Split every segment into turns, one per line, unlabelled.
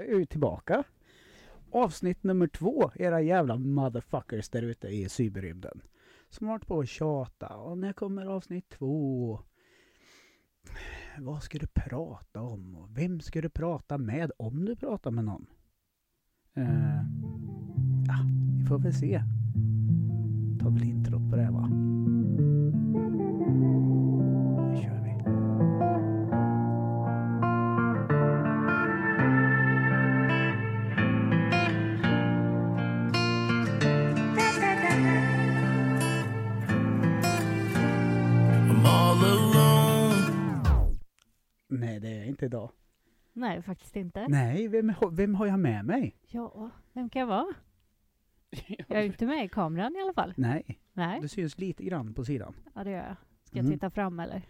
är ju tillbaka. Avsnitt nummer två, era jävla motherfuckers där ute i cyberrymden. Som har varit på och tjata. Och när kommer avsnitt två? Vad ska du prata om? Och vem ska du prata med? Om du pratar med någon. Eh, ja, ni får väl se. Ta väl introt på det här, va? Nu kör vi.
I'm all alone.
Nej, det är jag inte idag.
Nej, faktiskt inte.
Nej, vem, har- vem har jag med mig?
Ja, vem kan jag vara? Jag är ju inte med i kameran i alla fall.
Nej,
Nej,
det syns lite grann på sidan.
ja det gör jag. Ska jag
Mm.
titta fram eller?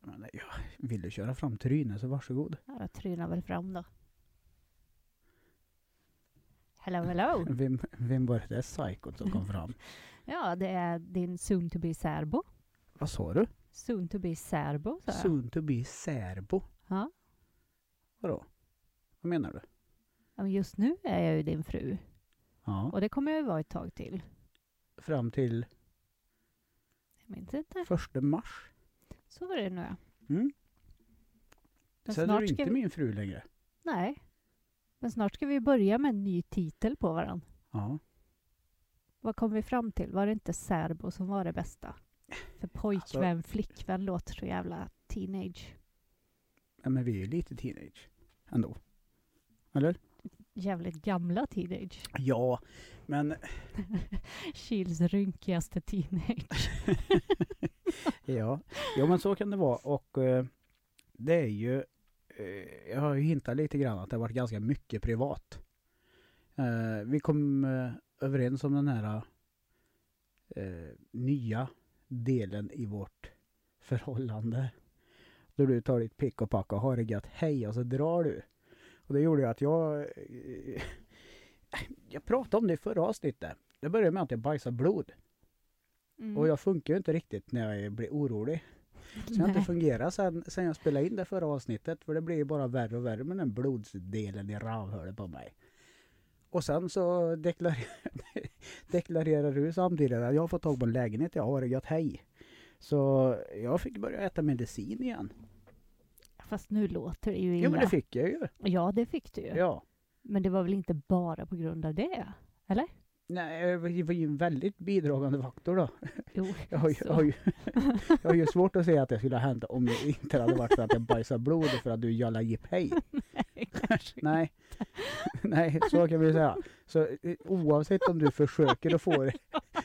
Men, ja, vill du köra fram trynet så varsågod.
Ja, jag trynar väl fram då. Hello, hello!
Vem, vem var det där psykot som kom fram?
Ja, det är din soon to be särbo.
Vad sa du?
Soon to be särbo, sa jag.
Soon to be särbo.
Ja.
Vadå? Vad menar du?
Ja, men just nu är jag ju din fru.
Ja,
Och det kommer jag ju vara ett tag till.
fram till
Jag minns inte.
första mars.
Så var det nu ja.
Mm.
Men
Sen är
snart
du
ska
inte
vi-
min fru längre.
Nej. Men snart ska vi börja med en ny titel på varann.
Ja.
Vad kom vi fram till? Var det inte särbo som var det bästa? För pojkvän,
Alltså-
flickvän låter så jävla teenage.
Ja, Men vi är ju lite teenage ändå.
Jävligt gamla teenage.
Ja, men
Kils rynkigaste teenage.
Ja, jo, men så kan det vara. Och eh, det är ju, eh, jag har ju hintat lite grann att det har varit ganska mycket privat. Eh, vi kom eh, överens om den här eh, nya delen i vårt förhållande. Då du tar ditt pick och pack och har det gött, hej och så drar du. Och det gjorde ju att jag, eh, jag pratade om det i förra avsnittet. Det började med att jag bajsade blod.
Mm.
Och jag funkar ju inte riktigt när jag blir orolig. Så jag har inte
Nej.
fungerat sen, sen jag spelade in det förra avsnittet. För det blir ju bara värre och värre med den blodsdelen i rövhålet på mig. Och sen så deklarerar, deklarerar du samtidigt att jag har fått tag på en lägenhet, jag har det gött, hej. Så jag fick börja äta medicin igen.
Fast nu låter det ju
Jo men
illa.
det fick jag ju.
Ja, det fick du ju.
Ja.
Men det var väl inte bara på grund av det? Eller?
Nej, eh, det var ju en väldigt bidragande faktor då.
Jo,
Jag har, ju,
så.
jag, har ju, jag har ju svårt att säga att det skulle ha hänt om det inte hade varit för att jag bajsade blod och för att du jalla jippej. Nej. Nej, så kan vi säga. Så eh, oavsett om du försöker att få det,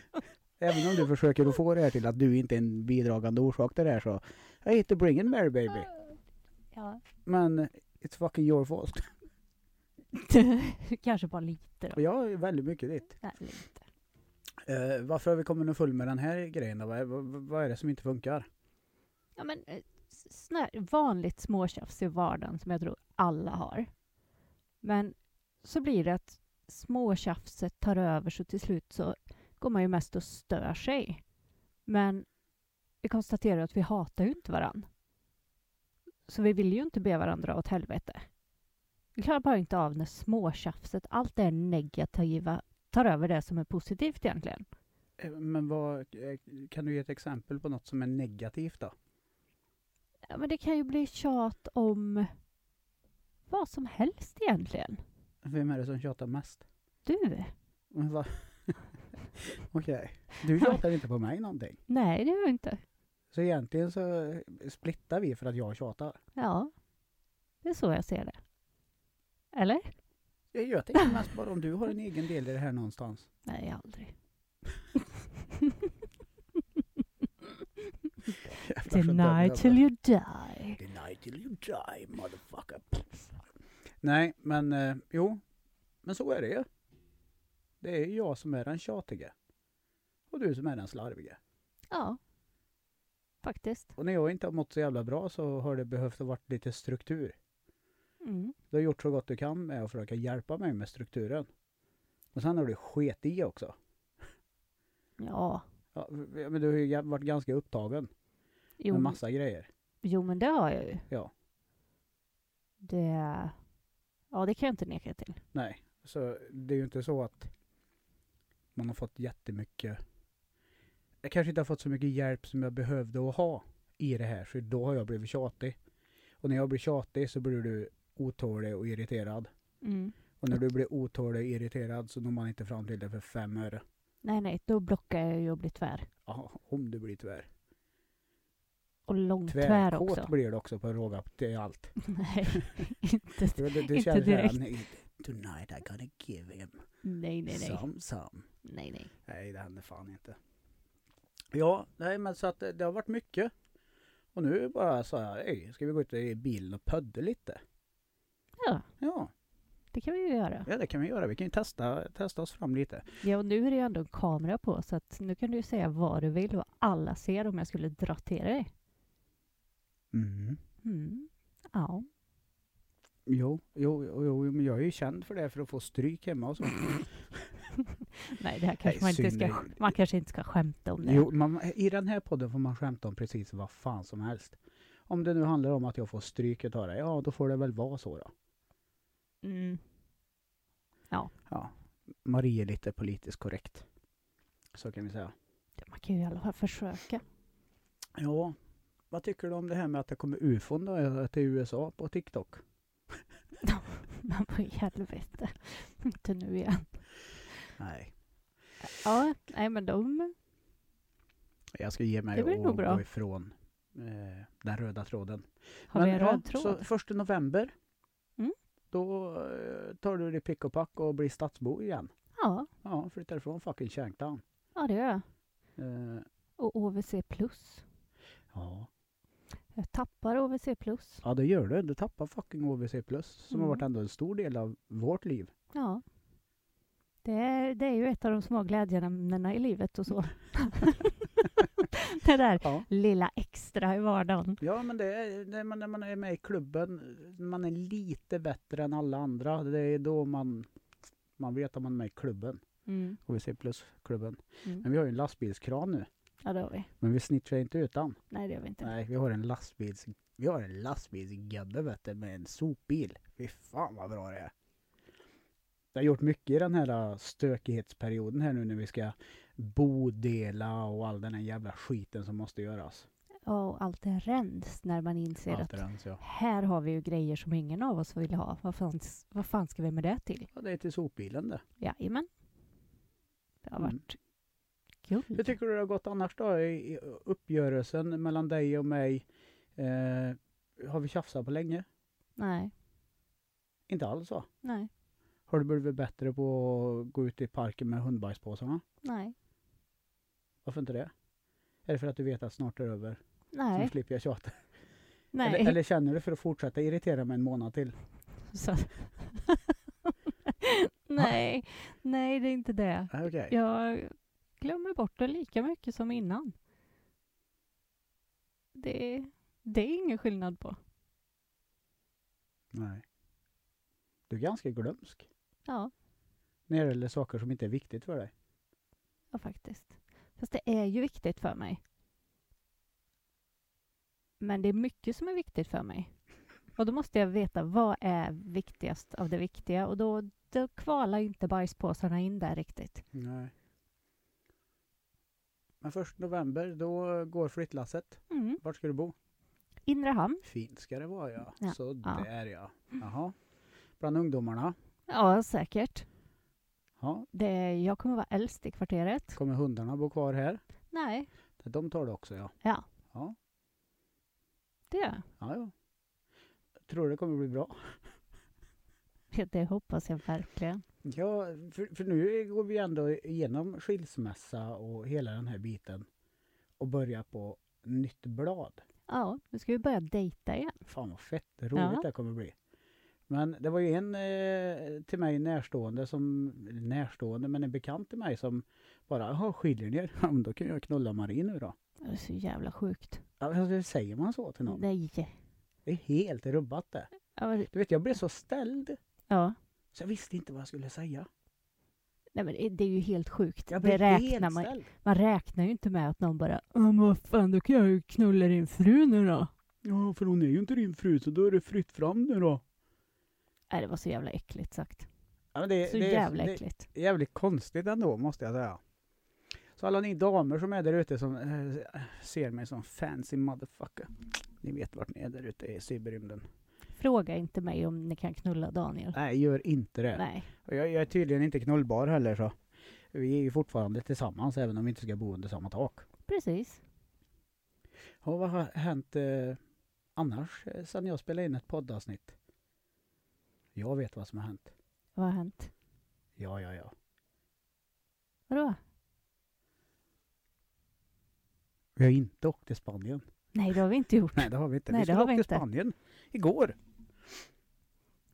även om du försöker att få det här till att du inte är en bidragande orsak till det här så, I hate to bring in Mary baby.
Ja.
Men eh, it's fucking your fault.
Kanske bara lite då.
Och jag är väldigt mycket ditt.
Nej, lite.
Eh, varför har vi kommit full med den här grejen då? Vad är, vad, vad är det som inte funkar?
Ja, men eh, s- sån här vanligt småtjafs i vardagen som jag tror alla har. Men så blir det att småtjafset tar över så till slut så går man ju mest och stör sig. Men vi konstaterar att vi hatar ju inte varann. Så vi vill ju inte be varandra åt helvete. Vi klarar bara inte av när småtjafset, allt det här negativa, tar över det som är positivt egentligen.
Eh, Men vad, eh, kan du ge ett exempel på något som är negativt då?
Ja, men det kan ju bli tjat om vad som helst egentligen.
Vem är det som tjatar mest?
Du?
Men vad- Okej, du tjatar inte på mig någonting.
Nej, det gör jag inte.
Så egentligen så eh, splittar vi för att jag tjatar.
Ja, det är så jag ser det. Eller?
Jag gör tänker mest bara om du har en egen del i det här någonstans.
Nej, aldrig.
Jävlar, så dömer
Deny
jag
till
mig.
you die.
Deny till you die, motherfucker. Nej, men eh, jo, men så är det ju. Det är ju jag som är den tjatige. Och du som är den slarvige.
Ja, faktiskt.
Och när jag inte har mått så jävla bra så har det behövt ha varit lite struktur.
Mm.
Du har gjort så gott du kan med att försöka hjälpa mig med strukturen. Och sen har du sket i också.
Ja,
Ja, men du har ju ga- varit ganska upptagen
jo,
med massa grejer.
jo, men det har jag ju.
Ja.
Det... Ja, det kan jag inte neka till.
Nej, så det är ju inte så att man har fått jättemycket. Jag kanske inte har fått så mycket hjälp som jag behövde att ha i det här, så då har jag blivit tjatig. Och när jag blir tjatig så blir du otålig och irriterad.
Mm.
Och när du blir otålig och irriterad så når man inte fram till det för fem öre.
Nej, nej, då blockar jag ju och blir tvär.
Ja, om du blir tvär.
Och långt Mm, tvär, också.
Tvärkåt blir du också på råga till allt.
Nej, inte.
Du, du, du
Inte
känner så här,
direkt.
"Nej, tonight I gonna give him
Nej, nej, nej.
some some.
Nej, nej.
Nej, det händer fan inte. Ja, nej men så att det, det har varit mycket. Och nu bara så här, "Ey, ska vi gå ut i bilen och pödda lite?
Ja,
Ja,
det kan vi ju göra.
ja det kan vi göra. Vi kan ju testa, testa oss fram lite.
Ja, och nu är det ju ändå en kamera på så att nu kan du ju säga vad du vill och alla ser om jag skulle dra till dig.
Mm.
Mm. Ja.
Jo, jo, jo, jo, men jag är ju känd för det, för att få stryk hemma och så.
Nej, det här kanske
Nej,
man inte
synd.
ska, man kanske inte ska skämta om det.
Jo, man, I den här podden får man skämta om precis vad fan som helst. Om det nu handlar om att jag får stryk utav det, ja då får det väl vara så då.
Mm.
Ja. Marie är lite politiskt korrekt. Så kan vi säga.
Man kan ju i alla fall försöka.
Ja, vad tycker du om det här med att det kommer ufon då, eh, till USA på TikTok?
Men vad i helvete. Inte nu igen.
Nej,
Ja, nej men de...
jag ska ge mig
Det blir nog
och
bra.
gå ifrån eh, den röda tråden.
Har vi en
ja,
röd tråd?
Så första november,
Mm.
då eh, tar du det pick och pack och blir stadsbo igen.
Ja,
Ja, flyttar ifrån fucking Shanktown.
ja det gör jag.
Eh,
Och OVC plus.
ja.
Jag tappar OVC plus.
ja, det gör du. Du tappar fucking OVC+, som har
Mm.
varit ändå en stor del av vårt liv.
Ja. Det är, det är ju ett av de små glädjeämnena i livet och så.
Mm.
det där
Ja.
lilla extra i vardagen.
Ja, men det är när man, när man är med i klubben, när man är lite bättre än alla andra. Det är då man, man vet att man är med i klubben,
Mm.
OVC plus-klubben.
Mm.
Men vi har ju en lastbilskran nu,
Ja, det har vi.
men vi snitchar inte utan.
Nej, det har vi inte.
Nej, vi har en lastbils... Vi har en lastbilsgubbe vet du, med en sopbil. Fy fan vad bra det är. Jag har gjort mycket i den här äh, stökighetsperioden här nu när vi ska bodela och all den här jävla skiten som måste göras.
Ja, och allt är rens när man inser
Allt
att
rens, ja.
här har vi ju grejer som ingen av oss vill ha. Vad fan, vad fan ska vi med det till?
ja, det är till sopbilen det.
Jajamän. Det har
Mm.
varit kul.
Hur tycker du det har gått annars då i i uppgörelsen mellan dig och mig? Eh, har vi tjafsat på länge?
Nej,
Inte alls va?
nej,
Har du blivit bättre på att gå ut i parken med hundbajspåsarna?
nej,
Varför inte det? Är det för att du vet att snart är det över? Så
nej,
nu slipper jag tjata.
nej.
Mm. Eller, eller känner du för att fortsätta irritera mig en månad till?
Så... nej, nej, det är inte det.
Nej, Okej.
Jag glömmer bort det lika mycket som innan. Det, det är ingen skillnad på.
Nej. Du är ganska glömsk.
Ja,
När det gäller saker som inte är viktigt för dig.
ja, faktiskt. Fast det är ju viktigt för mig. Men det är mycket som är viktigt för mig. Och då måste jag veta vad är viktigast av det viktiga och då, då kvalar inte bajspåsarna in där riktigt.
Nej. Men först november, då går flyttlasset.
Mm.
Vart ska du bo?
Inre hamn.
Fint ska det vara ja.
Ja.
Så där ja. Jaha. Bland ungdomarna.
Ja, säkert.
Ja.
Det, jag kommer vara äldst i kvarteret.
Kommer hundarna bo kvar här?
Nej,
De tar det också ja.
Ja.
Ja,
det gör jag.
ja. ja. Tror du det kommer bli bra?
Det hoppas jag verkligen.
Ja, för, för nu går vi ändå igenom skilsmässa och hela den här biten och börjar på nytt blad.
Ja, nu ska vi börja dejta igen.
Fan vad fett roligt
Ja.
det kommer bli. Men det var ju en eh, till mig närstående som, närstående men en bekant till mig som bara, jaha skiljer ni er? Ja, men då kan jag knulla Marie nu då.
Det är så jävla sjukt.
Alltså, säger man så till någon?
Nej.
Det är helt rubbat det.
Ja, men-
Du vet jag blev så ställd
ja.
så jag visste inte vad jag skulle säga.
Nej, men det- det är ju helt sjukt.
Jag
Det
blev
räknar
helt
man,
ställd.
man räknar ju inte med att någon bara "Ja, men vad fan, då kan jag ju knulla din fru nu då.
Ja, för hon är ju inte din fru så då är det fritt fram nu då.
Nej, det var så jävla äckligt sagt.
Ja, men det,
Så
det, är-
jävla
det,
äckligt.
är jävligt konstigt ändå, måste jag säga. Så alla ni damer som är där ute som eh, ser mig som fancy motherfucker. Ni vet vart ni är där ute i cyberrymden.
Fråga inte mig om ni kan knulla Daniel.
Nej, gör inte det.
Nej.
Och jag, jag är tydligen inte knullbar heller så. Vi är ju fortfarande tillsammans även om vi inte ska bo under samma tak.
Precis.
Och vad har hänt eh, annars eh, sedan jag spelade in ett poddavsnitt? Jag vet vad som har hänt.
Vad har hänt?
Ja, ja, ja.
Vadå?
Vi har inte åkt till Spanien.
Nej, det har vi inte gjort.
Nej, det har vi inte. vi
Nej, det
skulle
har
åka
vi
till
inte.
Spanien igår.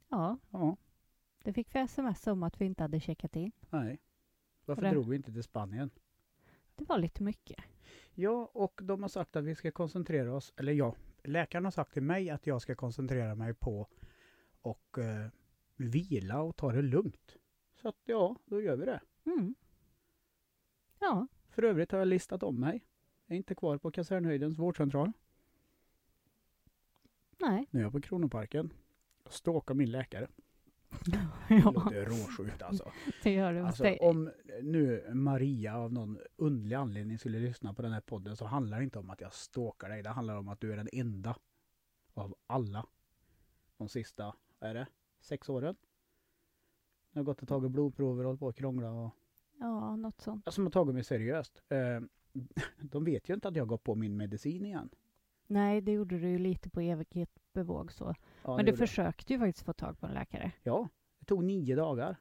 Ja,
Ja,
det fick vi sms om att vi inte hade checkat in.
nej. Varför
Varför?
drog vi inte till Spanien?
Det var lite mycket.
Ja, och de har sagt att vi ska koncentrera oss, eller ja, läkaren har sagt till mig att jag ska koncentrera mig på och eh, vila och ta det lugnt. Så att ja, då gör vi det.
Mm. Ja,
För övrigt har jag listat om mig. Jag är inte kvar på Kasernhöjdens vårdcentral.
nej.
Nu är jag på Kronoparken. Jag stalkar min läkare. Det
ja,
låter råsjukt alltså.
det gör det hos
alltså.
dig.
Om nu Maria av någon underlig anledning skulle lyssna på den här podden så handlar det inte om att jag stalkar dig. Det handlar om att du är den enda av alla de sista, vad är det, sex åren? Jag har gått och tagit blodprover och hållit på och krånglat och
Ja, något sånt.
som har tagit mig seriöst. Eh, De vet ju inte att jag går på min medicin igen.
Nej, det gjorde du ju lite på evigt bevåg så.
Ja,
Men
det
du
gjorde jag.
försökte ju faktiskt få tag på en läkare.
Ja, det tog nio dagar.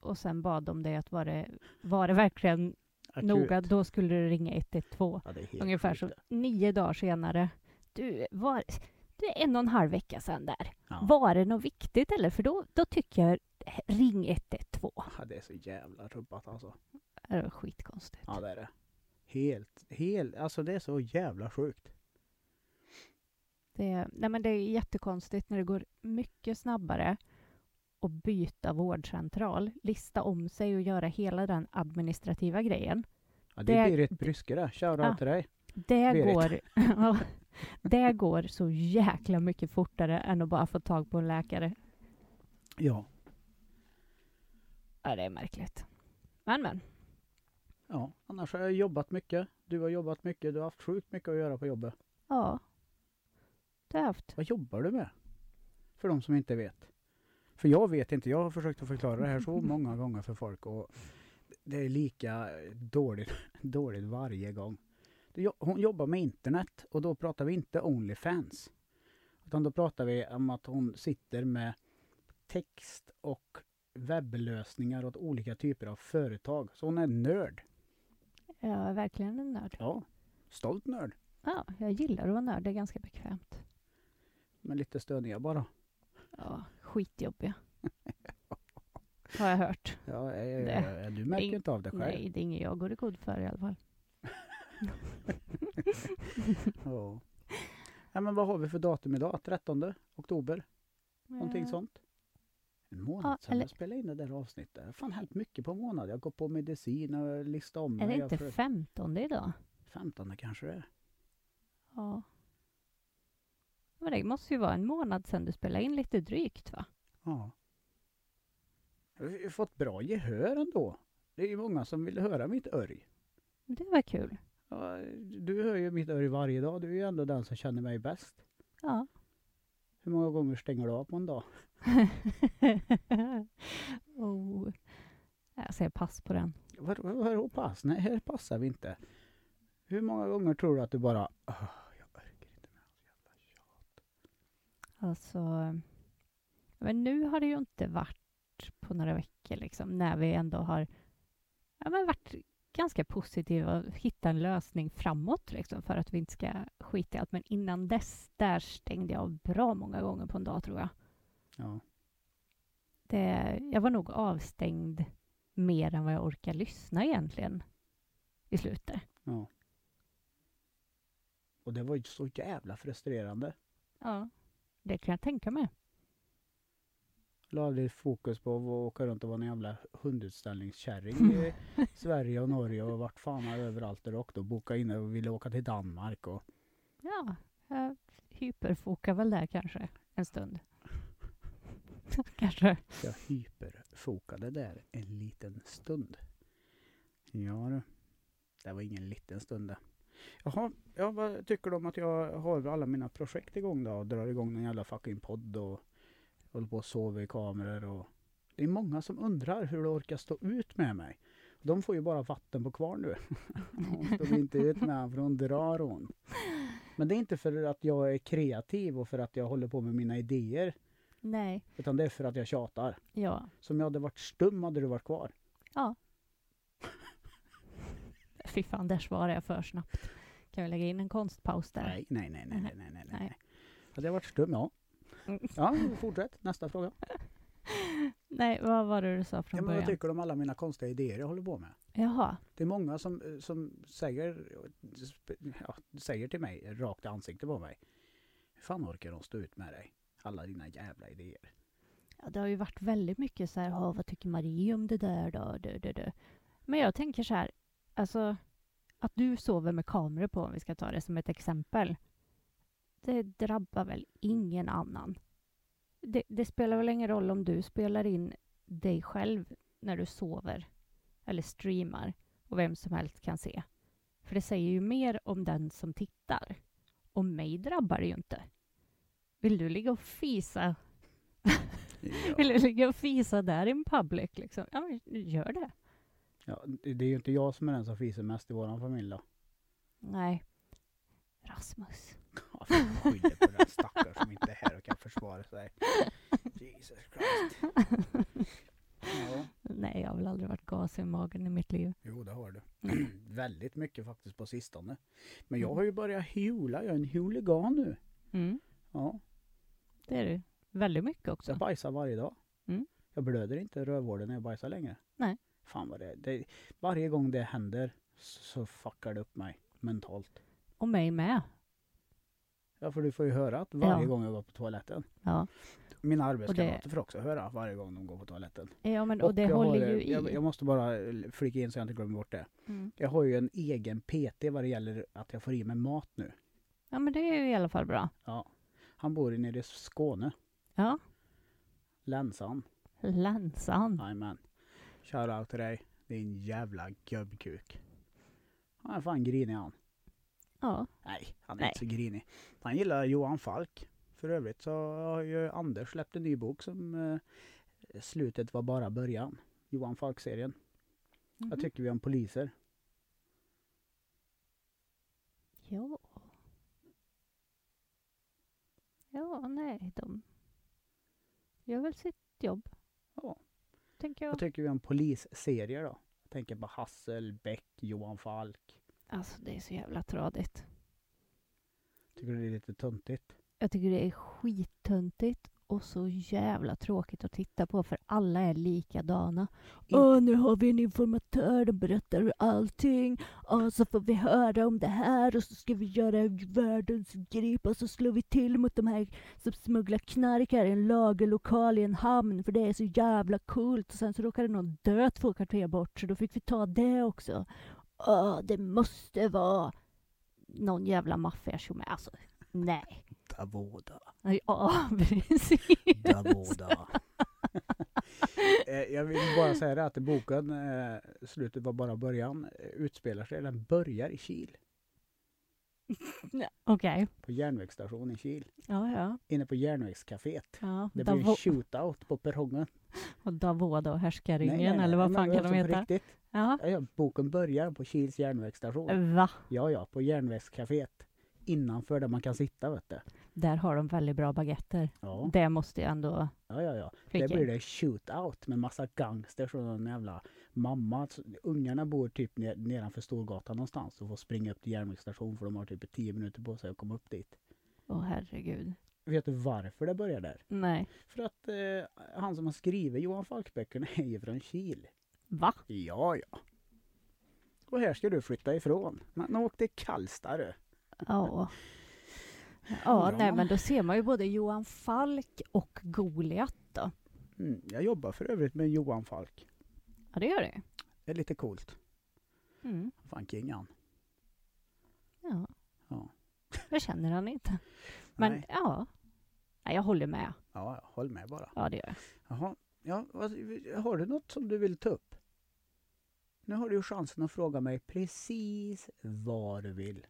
Och sen bad de dig att var det, var det verkligen
Akut.
noga, då skulle du ringa 112.
Ja, det är helt
Ungefär
sjukt
så
det.
nio dagar senare. Du, var, det är en och en halv vecka sedan där.
Ja.
Var det något viktigt eller? För då, då tycker jag ring 112.
Ja, Ah, det är så jävla rubbat alltså.
Det var skitkonstigt.
Ja, det är det. Helt, helt, alltså det är så jävla sjukt.
Det, är- nej men det är jättekonstigt när det går mycket snabbare att byta vårdcentral, lista om sig och göra hela den administrativa grejen.
Ja, det,
Det-
blir ett bryske det. Shoutout
Ja.
till dig.
Det
Berit.
går, ja, det går så jäkla mycket fortare än att bara få tag på en läkare.
Ja.
Ja, det är märkligt. Men, men.
ja. Annars har jag jobbat mycket. Du har jobbat mycket. Du har haft sjukt mycket att göra på jobbet.
Ja. Det har jag haft.
Vad jobbar du med? För de som inte vet. För jag vet inte. Jag har försökt att förklara det här så många gånger för folk och det är lika dåligt, dåligt varje gång. Det jo- Hon jobbar med internet och då pratar vi inte Onlyfans. Utan då pratar vi om att hon sitter med text och webblösningar åt olika typer av företag. Så hon är nörd.
Jag är verkligen en nörd.
Ja, stolt nörd.
Ja, jag gillar att vara nörd. Det är ganska bekvämt.
Men lite stöniga bara.
Ja, skitjobbiga. Har jag hört.
Ja, ja,
Det-
ja, ja, du märker ju inte av det själv.
Nej, det är inget jag går i god för i alla fall.
Ja. ja. Men vad har vi för datum idag? 13 oktober? Någonting
Eh,
sånt? En månad
Ja,
sedan
eller-
jag spelade in det där avsnittet. Det har fan hänt mycket på en månad. Jag har gått på medicin och listat om
Är det
mig.
inte
Jag har för-
15 idag?
15 kanske det är.
Ja. Men det måste ju vara en månad sedan du spelade in lite drygt va?
Ja. Vi har ju fått bra gehör ändå. Det är ju många som vill höra mitt örj.
Det var kul.
Ja, du hör ju mitt örj varje dag. Du är ju ändå den som känner mig bäst.
Ja.
Hur många gånger stänger du av på en dag?
oh. Jag säger pass på den.
Vad- vad- Vadå pass? Nej, här passar vi inte. Hur många gånger tror du att du bara... "Åh, jag orkar inte med allt jävla tjat."
Alltså, men nu har det ju inte varit på några veckor liksom, när vi ändå har ja, men varit ganska positiva och hittat en lösning framåt liksom, för att vi inte ska skita i allt. Men innan dess, där stängde jag av bra många gånger på en dag tror jag.
Ja.
Det, jag var nog avstängd mer än vad jag orkar lyssna egentligen i slutet.
ja. Och det var ju så jävla frustrerande.
Ja. Det kan jag tänka mig.
La aldrig fokus på att åka runt och vara en jävla hundutställningskärring i Sverige och Norge och vart fan jag överallt där och då boka in och ville åka till Danmark och
Ja, jag hyperfokar väl där kanske en stund. kanske.
Jag hyperfokade där en liten stund. Ja du. Det var ingen liten stund det. Jaha, ja, vad tycker du om att jag har alla mina projekt igång då? Och drar igång en jävla fucking podd och håller på och sover i kameror och... Det är många som undrar hur du orkar stå ut med mig. De får ju bara vatten på kvar nu. Hon står inte ut med honom för hon drar hon. Men det är inte för att jag är kreativ och för att jag håller på med mina idéer.
Nej,
Utan det är för att jag tjatar.
ja.
Som jag hade varit stum hade du varit kvar.
Fy fan, där svarar jag för snabbt. Kan vi lägga in en konstpaus där?
Nej, nej, nej, nej, nej, nej, nej.
Nej.
nej. Hade jag varit stum, ja.
Mm.
Ja, fortsätt. Nästa fråga.
Nej, vad var det du sa
Ja,
från
men vad
början?
tycker du om alla mina konstiga idéer jag håller på med?
Jaha.
Det är många som, eh, som säger, ja, säger till mig, rakt i ansiktet på mig. Hur fan orkar de stå ut med dig? Alla dina jävla idéer.
Ja, det har ju varit väldigt mycket så här, "Ja, vad tycker Marie om det där då? Du, du, du. Men jag tänker så här, alltså att du sover med kameror på, om vi ska ta det som ett exempel. Det drabbar väl ingen annan? Det, det spelar väl ingen roll om du spelar in dig själv när du sover eller streamar och vem som helst kan se. För det säger ju mer om den som tittar. Och mig drabbar det ju inte. Vill du ligga och fisa
Ja.
vill du ligga och fisa där in public? Liksom? Ja, men gör det.
Ja, det det är ju inte jag som är den som fiser mest i våran familj då.
Nej. Rasmus.
Ja, fan, jag skyller på den stackaren som inte är här och kan försvara sig. Jesus Christ. Ja,
Nej, jag har väl aldrig varit gas i magen i mitt liv.
jo det har du.
Mm.
Väldigt mycket faktiskt på sistone. Men jag har ju börjat hula, jag är en huligan nu.
Mm,
Ja,
det är du. Väldigt mycket
så jag
också.
bajsar varje dag.
Mm.
Jag blöder inte i rövhålen när jag bajsar längre.
Nej.
Fan vad det, det Varje gång det händer så fuckar det upp mig mentalt.
Och mig med.
Ja, för du får ju höra att varje
Ja.
gång jag går på toaletten.
Ja,
Mina arbetskamrater får också höra varje gång de går på toaletten.
ja men, och det
jag
håller
har,
ju
Jag,
i.
jag måste bara flika in så jag inte glömmer bort det.
Mm.
Jag har ju en egen PT vad det gäller att jag får i mig mat nu.
Ja, men det är ju i alla fall bra.
Ja. Han bor ju nere i Skåne.
Ja,
Länsan.
länsan.
Jajamän. Shoutout Mm. till dig. Din jävla gubbkuk. Han är fan grinig han.
Ja,
Nej, han är
Nej.
inte så grinig. Han gillar Johan Falk. För övrigt så har ju Anders släppt en ny bok som eh, Slutet var bara början. Johan Falk-serien. Vad
Mhm.
tycker vi om poliser?
ja. Ja, nej, de gör väl sitt jobb,
Ja.
tänker jag.
Vad tycker vi om polisserier då? Jag tänker på Hassel, Beck, Johan Falk.
Alltså det är så jävla tradigt.
Tycker du det är lite töntigt?
Jag tycker det är skittöntigt och så jävla tråkigt att titta på för alla är likadana.
In-
Åh, nu har vi en informatör, de berättar hur allting. Åh, så får vi höra om det här och så ska vi göra världens grip och så slår vi till mot de här som smugglar knark här i en lagerlokal i en hamn för det är så jävla coolt. Och sen så råkade någon dö två kvarter bort så då fick vi ta det också. Åh, det måste vara någon jävla maffia som är alltså, nej.
Davoda.
Ja, precis.
Davoda. Eh, jag vill bara säga det att boken eh, Slutet var bara början eh, utspelar sig, den börjar i Kil.
Okej.
På järnvägsstationen i Kil.
Ja, ja.
Inne på järnvägscaféet.
ja.
Det blir en
Davo-
shootout på perrongen.
och Davoda och
Nej,
Härskaringen,
nej, nej,
eller vad
men
fan
det
kan
var
de
alltså på
heta?
Riktigt.
Ja.
Ja, ja, boken börjar på Kils järnvägsstation.
Va?
Ja, ja, på järnvägscaféet. Innanför där man kan sitta, vet du.
Där har de väldigt bra baguetter.
Ja,
Det måste jag ändå
ja, ja. ja.
flika
Där blir
in.
det shootout med massa gangsters och någon jävla mamma. Så Ungarna bor typ ne- nedanför Storgatan någonstans och får springa upp till järnvägsstation för de har typ 10 minuter på sig att komma upp dit.
Åh herregud.
Vet du varför det börjar där?
Nej.
För att eh, han som har skrivit Johan Falkböckerna är ju från Kil.
Va?
Ja, ja. Och här ska du flytta ifrån. Man åkte till Karlstad du. Ja.
Ja. Ja, nej men då ser man ju både Johan Falk och Goliat då.
Mm, jag jobbar för övrigt med Johan Falk.
Ja, det gör det.
Det är lite coolt.
Mm.
Fan king han.
Ja.
Ja.
Jag känner han inte. Men
Nej.
ja. Nej, jag håller med.
Ja, håll med bara.
Ja, det gör jag.
Jaha. Ja, vad, har du något som du vill ta upp? Nu har du ju chansen att fråga mig precis vad du vill.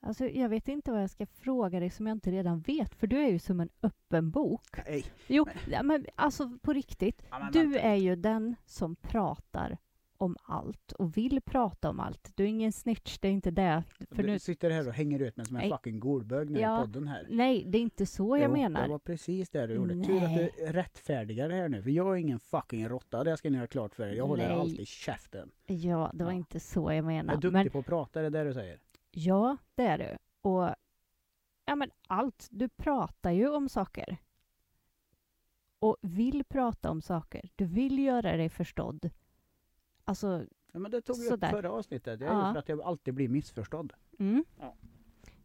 Alltså, jag vet inte vad jag ska fråga dig som jag inte redan vet, för du är ju som en öppen bok.
Nej.
Jo, ja, men alltså på riktigt.
Ja, men
Du
vänta.
är ju den som pratar om allt och vill prata om allt. Du är ingen snitch, det är inte det. För
du
nu,
sitter här och hänger ut mig som en
Nej.
fucking golbög nu
Ja,
i podden här.
nej, det är inte så jag
Jo,
menar.
Det var precis det du gjorde. Tur att
Nej.
du rättfärdigar det här nu. För jag är ingen fucking råtta, det ska ni ha klart för er. Jag håller
Nej.
alltid käften.
Ja, det var
Ja.
inte så jag
Jag är
menade.
duktig
Men
på att prata, det är det du säger.
ja, det är du. Och ja, men allt. Du pratar ju om saker. Och vill prata om saker. Du vill göra dig förstådd. Alltså,
Ja, men det tog vi upp
Sådär.
förra avsnittet. Det är
Ja.
ju för att jag alltid blir missförstådd.
mm.
Ja.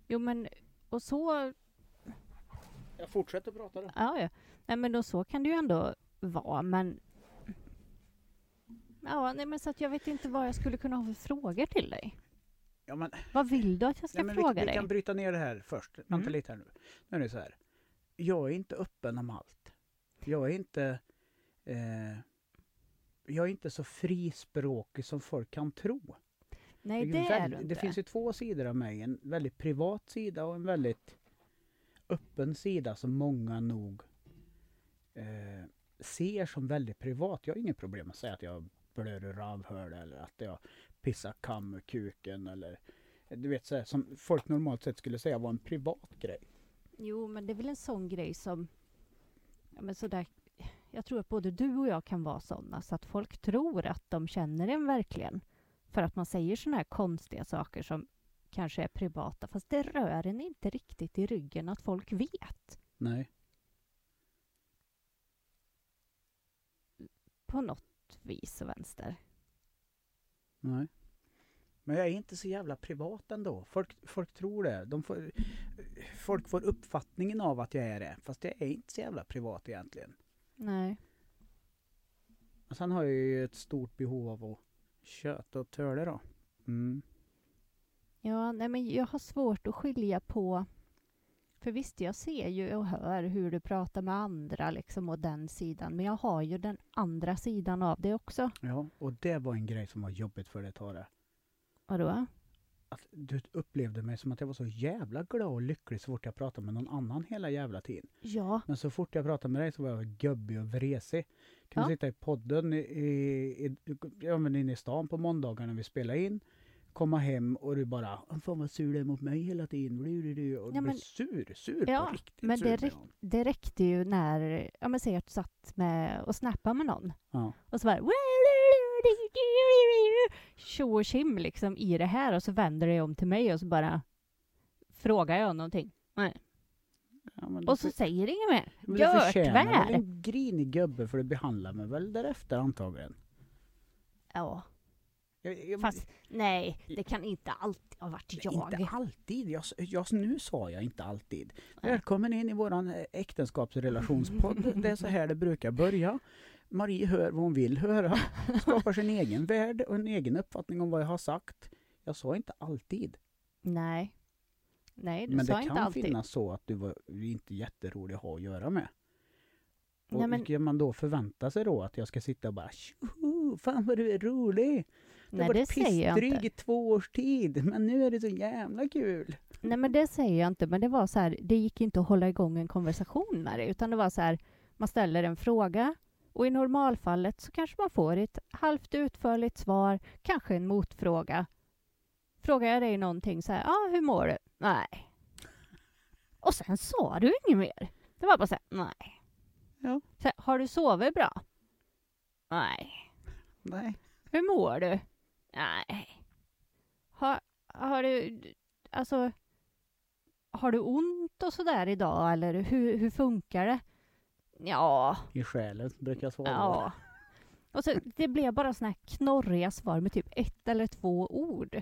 Jo, men och så
Jag fortsätter prata då.
Ja, ja. Nej, men då så kan det ju ändå vara, men... Ja, nej, men så att jag vet inte vad jag skulle kunna ha för frågor till dig.
Ja, men,
Vad vill du att jag ska
nej, men vi,
fråga
vi
dig?
kan bryta ner det här först. Vänta
Mm.
lite här nu. Nu är det så här. Jag är inte öppen om allt. Jag är inte... Eh, jag är inte så frispråkig som folk kan tro.
Nej, det
Vilken
är
väl-
du
det
inte.
finns ju två sidor av mig. En väldigt privat sida och en väldigt öppen sida som många nog eh, ser som väldigt privat. Jag har inget problem att säga att jag blör ur rövhål eller att jag pissar kam ur kuken eller du vet så här, som folk normalt sett skulle säga var en privat grej.
Jo, men det är väl en sån grej som... Ja, men sådär. Jag tror att både du och jag kan vara såna, så att folk tror att de känner en verkligen. För att man säger såna här konstiga saker som kanske är privata, fast det rör en inte riktigt i ryggen att folk vet.
Nej.
På något vis och vänster.
Nej. Men jag är inte så jävla privat ändå. Folk, folk tror det. De får, folk får uppfattningen av att jag är det. Fast jag är inte så jävla privat egentligen.
Nej.
Och sen har jag ju ett stort behov av att köta och töle då. Mm.
Ja, nej men jag har svårt att skilja på... För visst, jag ser ju och hör hur du pratar med andra liksom, och den sidan, men jag har ju den andra sidan av det också.
Ja, och det var en grej som var jobbigt för dig att ta det.
Vadå?
Att du upplevde mig som att jag var så jävla glad och lycklig så fort jag pratade med någon annan hela jävla tiden.
Ja,
Men så fort jag pratade med dig så var jag gubbig och vresig. Kunde
Ja.
sitta i podden i, i, i, ja, men inne i stan på måndagar när vi spelade in. Komma hem och du bara "Åh, Fan vad sur du är mot mig hela tiden. Blir du, du. Och du blir
Ja, men-
sur, sur
Ja,
på riktigt.
men
sur
det
blev
räck-
jag.
det räckte ju när... Ja, men säg att du satt med och snappade med någon.
Ja.
Och så bara... Tjo och tjim liksom i det här och så vänder du dig om till mig och så bara frågar jag någonting.
Ja, men då
Och så säger ingen mer.
Men du
Gört
förtjänar väl
väl!
en grinig gubbe för du behandlar mig väl därefter antagligen?
Ja.
Jag, jag,
Fast nej, det kan inte alltid ha varit jag.
Inte alltid. Jag, s- jag, nu sa jag inte alltid.
Nej.
Välkommen in i våran eh, äktenskapsrelationspodd. Det är så här det brukar börja. Marie hör vad hon vill höra, skapar sin egen värld och en egen uppfattning om vad jag har sagt. Jag sa inte alltid.
Nej. Nej, du
Men
sa
det
inte
kan
alltid.
finnas så att du var inte jätterolig att ha att göra med. Och
Nej, men,
Ska man då förvänta sig då att jag ska sitta och bara "Tjoho, fan vad du är rolig! Du
nej,
har
det
varit
säger jag
pissdryg
inte.
i två års tid, men nu är det så jävla kul.
Nej, men det säger jag inte. Men det var så här, det gick inte att hålla igång en konversation med det, utan det var så här, man ställer en fråga och i normalfallet så kanske man får ett halvt utförligt svar, kanske en motfråga. Frågar jag dig någonting så här, ah, hur mår du? Nej. Och sen sa du inget mer. Det var bara så här, nej.
Ja.
Så här, har du sovit bra? Nej.
Nej.
Hur mår du? Nej. Har, har du... Alltså... Har du ont och sådär idag, eller hur, hur funkar det? Ja,
I själen brukar jag svara.
ja. Och så, det blev bara såna här knorriga svar med typ ett eller två ord.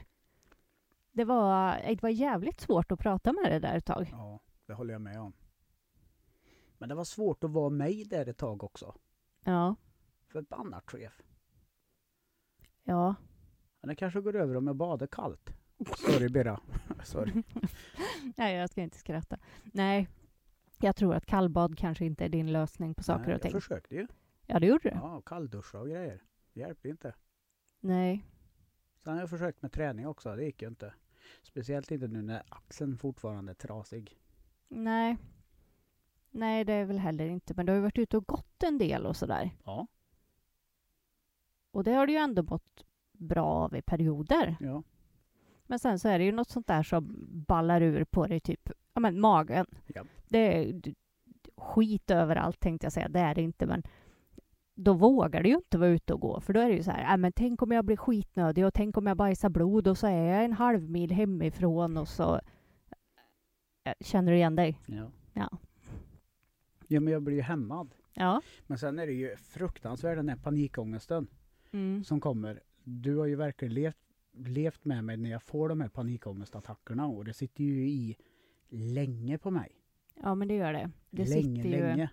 Det var, det var jävligt svårt att prata med det där ett tag.
ja, det håller jag med om. Men det var svårt att vara mig där ett tag också.
Ja,
Förbannat chef.
ja.
Men det kanske går över om jag badar kallt.
Mm,
Sorry Birra. Sorry.
Nej, jag ska inte skratta. Nej. Jag tror att kallbad kanske inte är din lösning på saker
Nej,
och ting.
Jag försökte ju.
Ja, det gjorde du.
Ja, kallduscha och grejer. Det hjälpte inte.
Nej.
Sen har jag försökt med träning också. Det gick ju inte. Speciellt inte nu när axeln fortfarande är trasig.
Nej. Nej, det är väl heller inte. Men du har ju varit ute och gått en del och sådär.
Ja.
Och det har du ju ändå mått bra av i perioder.
Ja.
Men sen så är det ju något sånt där som ballar ur på dig, typ ja, men magen.
Ja.
Det är d- skit överallt, tänkte jag säga. Det är det inte, men då vågar du ju inte vara ute och gå, för då är det ju så här, "Äh, men tänk om jag blir skitnödig och tänk om jag bajsar blod och så är jag en halv mil hemifrån och så... Äh, Känner du igen dig?
Ja.
Ja.
Ja, men jag blir ju hämmad.
Ja.
Men sen är det ju fruktansvärd den här panikångesten
Mm.
som kommer. Du har ju verkligen levt, levt med mig när jag får de här panikångestattackerna och det sitter ju i länge på mig.
Ja, men det gör det. Det
länge,
sitter ju...
länge.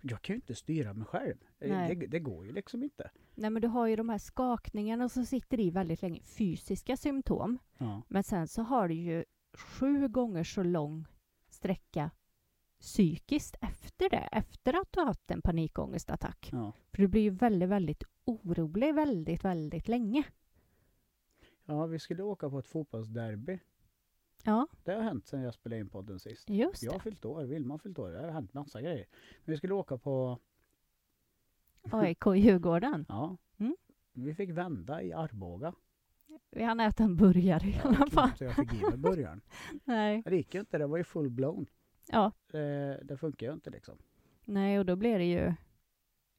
Jag kan ju inte styra mig själv. Eh,
Nej.
Det, det går ju liksom inte.
Nej, men du har ju de här skakningarna som sitter i väldigt länge. Fysiska symptom.
Ja.
Men sen så har du ju sju gånger så lång sträcka psykiskt efter det. Efter att du har haft en panikångestattack.
Ja.
För du blir ju väldigt, väldigt orolig väldigt, väldigt länge.
ja, vi skulle åka på ett fotbollsderby.
Ja,
Det har hänt sedan jag spelade in podden sist.
just
Jag har
det.
fyllt år, Vilma har fyllt år, det har hänt massa grejer. Men vi skulle åka på,
AIK i Djurgården.
ja.
Mm.
Vi fick vända i Arboga.
Vi hann äta en burgare i alla fall.
Så jag fick i mig början.
Nej.
Det gick ju inte, det var ju full blown.
Ja,
Det, det funkar ju inte liksom.
Nej, och då blev det ju...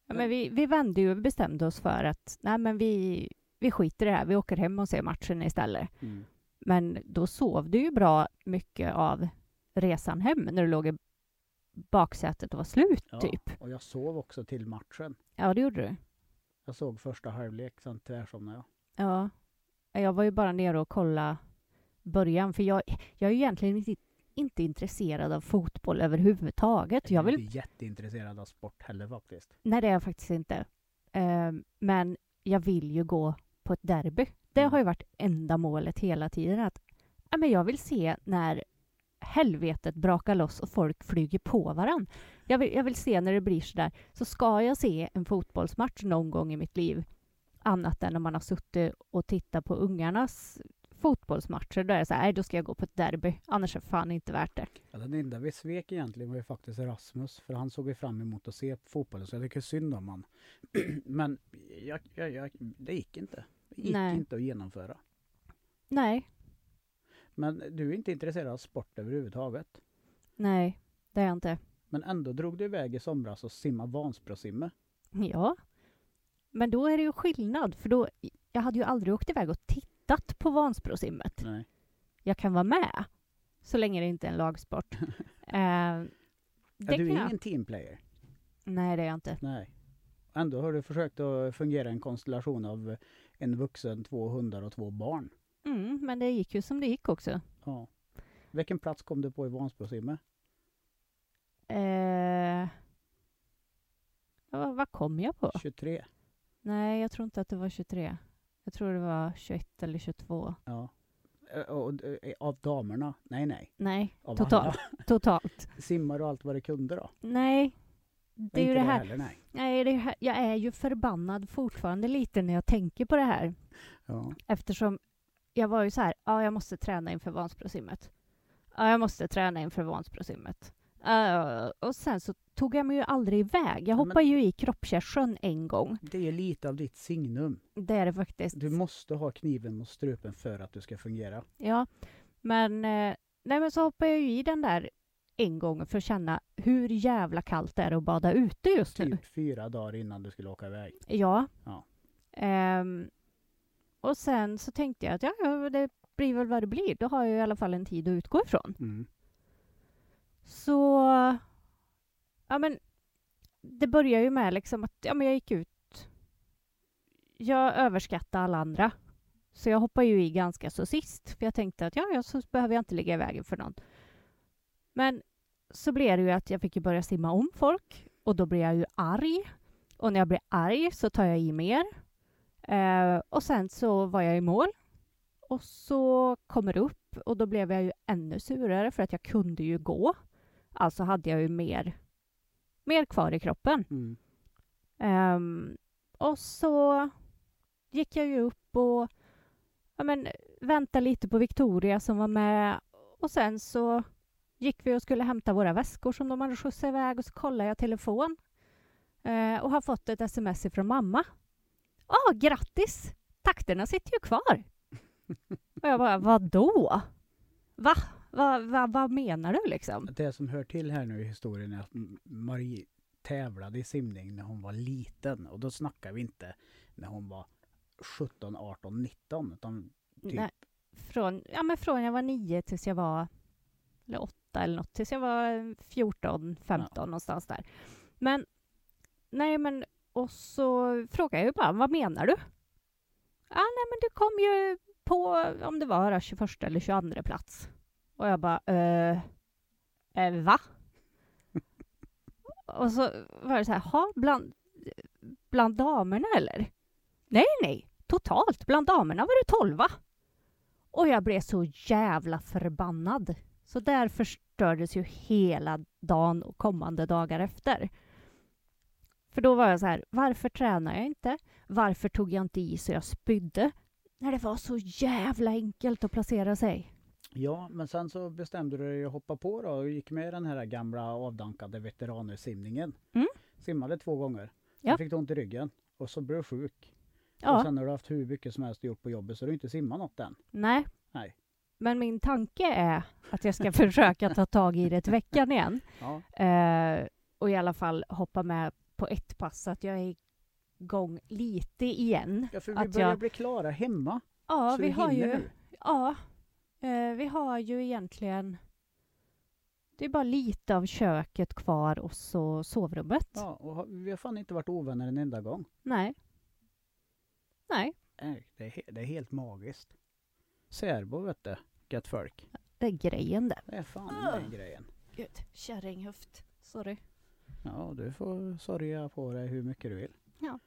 Ja, men vi, vi vände ju och bestämde oss för att nej, men vi, vi skiter i det här. Vi åker hem och ser matchen istället.
Mm.
Men då sov du ju bra mycket av resan hem när du låg i baksätet och var slut,
Ja.
typ.
Och jag sov också till matchen.
Ja, det gjorde du.
Jag såg första halvlek, sen tvärsomnade jag.
Ja. Jag var ju bara nere och kollade början, för jag, jag är ju egentligen inte, inte intresserad av fotboll överhuvudtaget. Jag
Jag är
vill
inte jätteintresserad av sport heller faktiskt.
Nej, det är jag faktiskt inte. Ehm, men jag vill ju gå på ett derby. Det har ju varit enda målet hela tiden. Att, ja, men jag vill se när helvetet brakar loss och folk flyger på varann. Jag vill, jag vill se när det blir sådär. Så ska jag se en fotbollsmatch någon gång i mitt liv, annat än om man har suttit och tittat på ungarnas fotbollsmatcher, då är det så här, "Nej, då ska jag gå på ett derby. Annars är det fan inte värt det.
Ja, den enda vi svek egentligen var ju faktiskt Rasmus, för han såg vi fram emot att se på fotbollen, så jag tycker synd om han. Men jag, jag, jag, det gick inte. Det gick
Nej.
inte att genomföra.
Nej,
Men du är inte intresserad av sport överhuvudtaget.
nej, det är jag inte.
Men ändå drog du iväg i somras och simmade Vansbrosimmet.
Ja. Men då är det ju skillnad, för då, jag hade ju aldrig åkt iväg och tittat på Vansbrosimmet.
Nej.
Jag kan vara med, så länge det inte är en lagsport. eh, det
Ja, du
kan
är
jag.
ingen teamplayer.
Nej, det är jag inte.
Nej. Ändå har du försökt att fungera en konstellation av en vuxen, två hundar och två barn.
Mm, men det gick ju som det gick också.
Ja. Vilken plats kom du på i Vansbrosimmet?
Eh, vad, vad kom jag på?
23.
Nej, jag tror inte att det var 23. Jag tror det var 21 eller 22.
Ja. Eh, Och, eh, av damerna? Nej, nej.
Nej,
Av alla.
totalt. totalt.
Simmar och allt vad det kunde då?
Nej, det är ju
inte
det här.
heller, nej.
Nej, det här, jag är ju förbannad fortfarande lite när jag tänker på det här.
Ja.
Eftersom jag var ju så här, ja, jag måste träna inför Vansbrosimmet. Ja, jag måste träna inför Vansbrosimmet. Uh, och sen så tog jag mig ju aldrig iväg. Jag
men-
hoppade ju i Kroppskärrsjön en gång.
Det är ju lite av ditt signum.
Det är det faktiskt.
Du måste ha kniven mot strupen för att du ska fungera.
Ja, men, eh, nej, men så hoppade jag ju i den där en gång för att känna hur jävla kallt det är att bada ute just nu.
Typ fyra dagar innan du skulle åka iväg.
Ja.
Ja.
Ehm, och sen så tänkte jag att ja, ja, det blir väl vad det blir. Då har jag i alla fall en tid att utgå ifrån.
Mm.
Så... Ja, men det börjar ju med liksom att ja, men jag gick ut... Jag överskattade alla andra. Så jag hoppade ju i ganska så sist, för jag tänkte att ja, ja, så behöver jag inte ligga i vägen för någon. Men så blev det ju att jag fick ju börja simma om folk och då blev jag ju arg. Och när jag blir arg så tar jag i mer. Eh, och sen så var jag i mål. Och så kommer det upp och då blev jag ju ännu surare för att jag kunde ju gå. Alltså hade jag ju mer, mer kvar i kroppen.
Mm.
Ehm, och så gick jag ju upp och ja, men, väntade lite på Victoria som var med. Och sen så gick vi och skulle hämta våra väskor som de hade skjutsat iväg och så kollade jag telefon eh, och har fått ett sms ifrån mamma. Åh, grattis! Takterna sitter ju kvar. och jag bara, vadå? Va? Va, va? Vad menar du liksom?
Det som hör till här nu i historien är att M- Marie tävlade i simning när hon var liten. Och då snackar vi inte när hon var 17, 18, 19. Utan Typ.
Nej, från, ja, men från jag var nio tills jag var eller åtta eller något, tills jag var 14, 15 någonstans där. Men nej, men och så frågade jag ju bara, vad menar du? Ja, nej, men du kom ju på om det var 21 eller 22 plats. Och jag bara, eh, eh va? och så var det så här, ha, bland, bland damerna eller? Nej, nej, totalt. Bland damerna var det 12. Och jag blev så jävla förbannad. Så där förstördes ju hela dagen och kommande dagar efter. För då var jag så här, varför tränar jag inte? Varför tog jag inte i så jag spydde? När det var så jävla enkelt att placera sig.
ja, men sen så bestämde du dig att hoppa på då och gick med i den här gamla avdankade veteransimningen.
Mm.
Simmade två gånger. Sen
Ja.
fick du ont i ryggen och så blev du sjuk. Och
Ja,
sen har du haft hur mycket som helst gjort på jobbet så du har inte simmat något än.
nej.
Nej.
Men min tanke är att jag ska försöka ta tag i det till veckan igen.
Ja,
Eh, och i alla fall hoppa med på ett pass så att jag är igång lite igen.
ja för vi
Att
börjar
jag-
bli klara hemma.
Ja,
så
vi
du
har ju...
hinner nu.
Ja, eh, vi har ju egentligen... Det är bara lite av köket kvar och så sovrummet.
Ja, och har- vi har fan inte varit ovänner en enda gång.
Nej. Nej,
Nej, det är, he- det är helt magiskt. Särbo vet du, gött folk.
det är grejen där.
Det är fan den
Ugh.
grejen.
Gud, kärringhuft. Sorry.
Ja, du får sörja på dig hur mycket du vill.
Ja.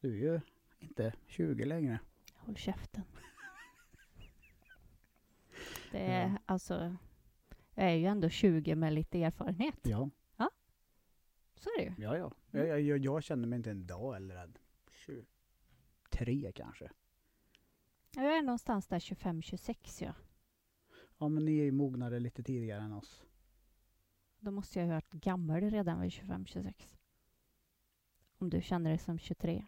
Du är ju inte 20 längre.
Håll käften. Det är
Ja.
alltså... Jag är ju ändå 20 med lite erfarenhet.
Ja,
Så är det ju.
ja, ja. Jag, jag, jag, jag känner mig inte en dag äldre än 23 kanske.
Ja, Jag är någonstans där 25-26 ja.
Ja, men ni är ju mognare lite tidigare än oss.
Då måste jag ju ha varit gammal redan vid 25-26. Om du känner dig som 23.